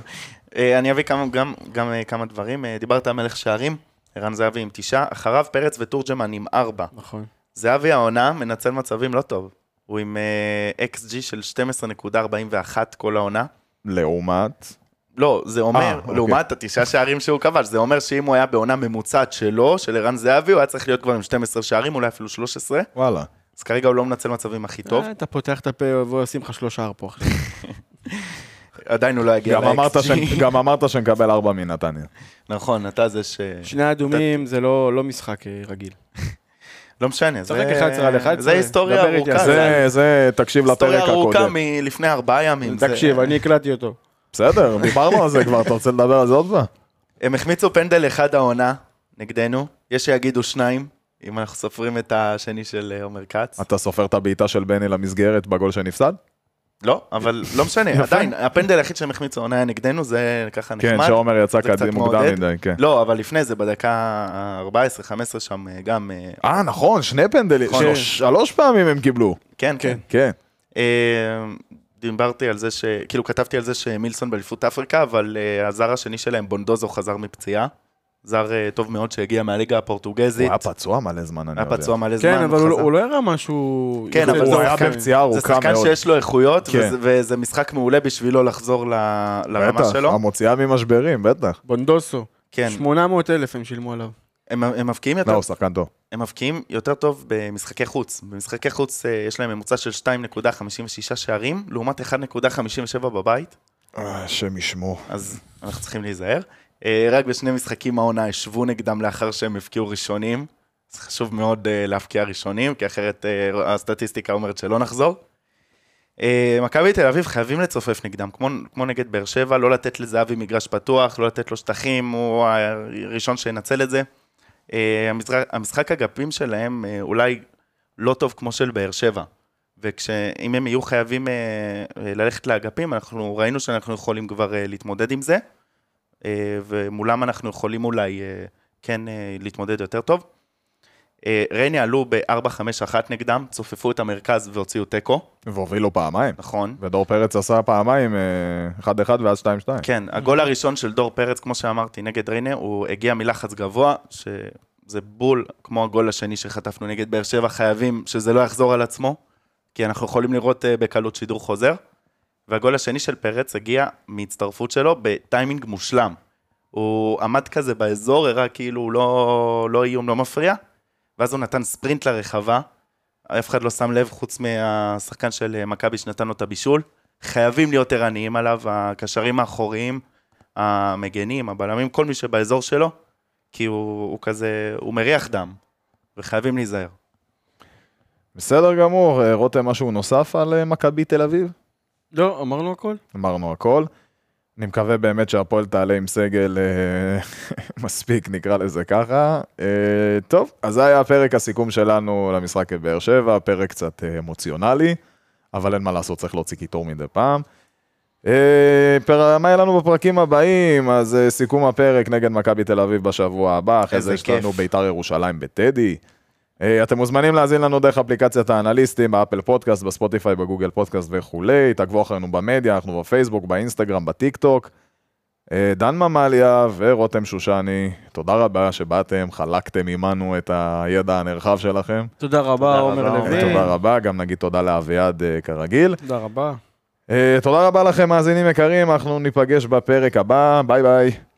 אה, אני אביא כמה- גם- גם אה, כמה דברים. אה, דיברת על מלך שערים, ערן זהבי עם תשעה, אחריו פרץ ותורג'מן עם ארבע.
נכון.
זהבי העונה מנצל מצבים לא טוב. הוא עם אקס ג'י של 12.41 כל העונה.
לעומת...
לא, זה
אה,
אומר,
אוקיי.
לעומת התשעה שערים שהוא כבש, זה אומר שאם הוא היה בעונה ממוצעת שלו, של ערן זהבי, הוא היה צריך להיות כבר עם 12 שערים, אולי אפילו 13,
וואלה.
אז כרגע הוא לא מנצל מצבים הכי טוב,
אה, אתה פותח את הפה והוא ישים לך שלושה פה עכשיו.
עדיין הוא לא יגיע
גם אמרת
ל-XG.
ש- גם אמרת שנקבל ארבע מנתניה.
נכון, אתה זה ש...
שני האדומים זה לא לא משחק אה, רגיל.
לא משנה,
צחק 11 על 11,
זה היסטוריה
דבר איתי
ארוכה,
על
זה, זה, תקשיב לפרק
לא, היסטוריה ארוכה
הקודם.
מלפני ארבעה ימים. זה-
תקשיב, אני הקלטתי אותו.
בסדר, דיברנו על זה כבר, אתה רוצה לדבר על זה עוד פעם?
הם החמיצו פנדל אחד העונה נגדנו, יש שיגידו שניים, אם אנחנו סופרים את השני של אה, עומר כץ.
אתה סופר את הבעיטה של בני למסגרת בגול שנפסד?
לא, אבל לא משנה, עדיין, הפנדל היחיד שהם החמיצו העונה היה נגדנו, זה ככה
כן,
נחמד.
שעומר יצא
זה קצת
קדימה מוקדם
מעודד.
מדי, כן.
לא, אבל לפני זה, בדקה ה-14-15 שם אה, גם, אה,
אה, נכון, שני פנדלים,
נכון.
שלוש- שלוש פעמים הם קיבלו.
כן,
כן.
כן.
כן.
אה, דיברתי על זה ש... כאילו, כתבתי על זה שמילסון באליפות אפריקה, אבל אה, הזר השני שלהם, בונדוזו, חזר מפציעה. זר אה, טוב מאוד שהגיע מהליגה
הוא
הפורטוגזית.
היה פצוע מלא זמן, אני
היה
יודע.
פצוע מלא זמן.
כן, אבל
חזר.
הוא- הוא לא הראה משהו...
כן,
יוצא
אבל
דופן.
הוא
זה
היה
שחקן-
בפציעה
זה
ארוכה
שחקן
מאוד.
שיש לו איכויות,
כן.
וזה- וזה משחק מעולה בשבילו לחזור ל- לרמה
בטח,
שלו.
המוציאה ממשברים, בטח.
בונדוסו.
כן,
800 אלף הם שילמו עליו.
הם- הם מבקיעים
לא,
יותר
הוא שחקן טוב.
הם מבקיעים יותר טוב במשחקי חוץ. במשחקי חוץ אה, יש להם ממוצע של 2.56 שערים, לעומת 1.57 בבית,
אה, השם ישמו.
אז אנחנו צריכים להיזהר. אה, רק בשני משחקים העונה השוו נגדם לאחר שהם הבקיעו ראשונים. אז חשוב מאוד אה, להבקיע ראשונים, כי אחרת אה, הסטטיסטיקה אומרת שלא נחזור. אה, מכבי תל אביב חייבים לצופף נגדם, כמו, כמו נגד באר שבע, לא לתת לזהבי מגרש פתוח, לא לתת לו שטחים, הוא הראשון שינצל את זה. אה, המשחק, המשחק אגפים שלהם אה, אולי לא טוב כמו של באר שבע. וכשאם הם יהיו חייבים אה, אה, ללכת לאגפים, אנחנו ראינו שאנחנו יכולים כבר אה, להתמודד עם זה, אה, ומולם אנחנו יכולים אולי אה, כן אה, להתמודד יותר טוב. אה, ריינה עלו ב-4-5-1 נגדם, צופפו את המרכז והוציאו תיקו,
והובילו פעמיים.
נכון.
ודור פרץ עשה פעמיים, אה, 1-1 ואז 2-2.
כן, הגול הראשון של דור פרץ, כמו שאמרתי, נגד ריינה, הוא הגיע מלחץ גבוה, שזה בול כמו הגול השני שחטפנו נגד באר שבע, חייבים שזה לא יחזור על עצמו, כי אנחנו יכולים לראות אה, בקלות שידור חוזר. והגול השני של פרץ הגיע מהצטרפות שלו בטיימינג מושלם. הוא עמד כזה באזור, הראה כאילו הוא לא, לא איום, לא מפריע, ואז הוא נתן ספרינט לרחבה, אף אחד לא שם לב חוץ מהשחקן של אה, מכבי שנתן לו את הבישול. חייבים להיות ערניים עליו, הקשרים האחוריים, המגנים, הבלמים, כל מי שבאזור שלו, כי הוא, הוא כזה, הוא מריח דם, וחייבים להיזהר.
בסדר גמור, אה, רותם, משהו נוסף על אה, מכבי תל אביב?
לא, אמרנו הכל?
אמרנו הכל. אני מקווה באמת שהפועל תעלה עם סגל אה, מספיק, נקרא לזה ככה. אה, טוב, אז זה היה פרק הסיכום שלנו למשחק בבאר שבע, פרק קצת אה, אמוציונלי, אבל אין מה לעשות, צריך להוציא קיטור מדי פעם. אה, פר... מה יהיה לנו בפרקים הבאים? אז אה, סיכום הפרק נגד מכבי תל אביב בשבוע הבא, אחרי
איזה
זה יש
כיף.
לנו ביתר ירושלים בטדי. אה, אתם מוזמנים להאזין לנו דרך אפליקציית האנליסטים, באפל פודקאסט, בספוטיפיי, בגוגל פודקאסט וכולי, תעקבו אחרינו במדיה, אנחנו בפייסבוק, באינסטגרם, בטיקטוק. אה, דן ממליה ורותם שושני, תודה רבה שבאתם, חלקתם עמנו את הידע הנרחב שלכם.
תודה רבה, עומר
רבה,
אה,
לוי.
תודה רבה, גם נגיד תודה לאביעד אה, כרגיל.
תודה רבה.
אה, תודה רבה לכם, מאזינים יקרים, אנחנו ניפגש בפרק הבא, ביי ביי.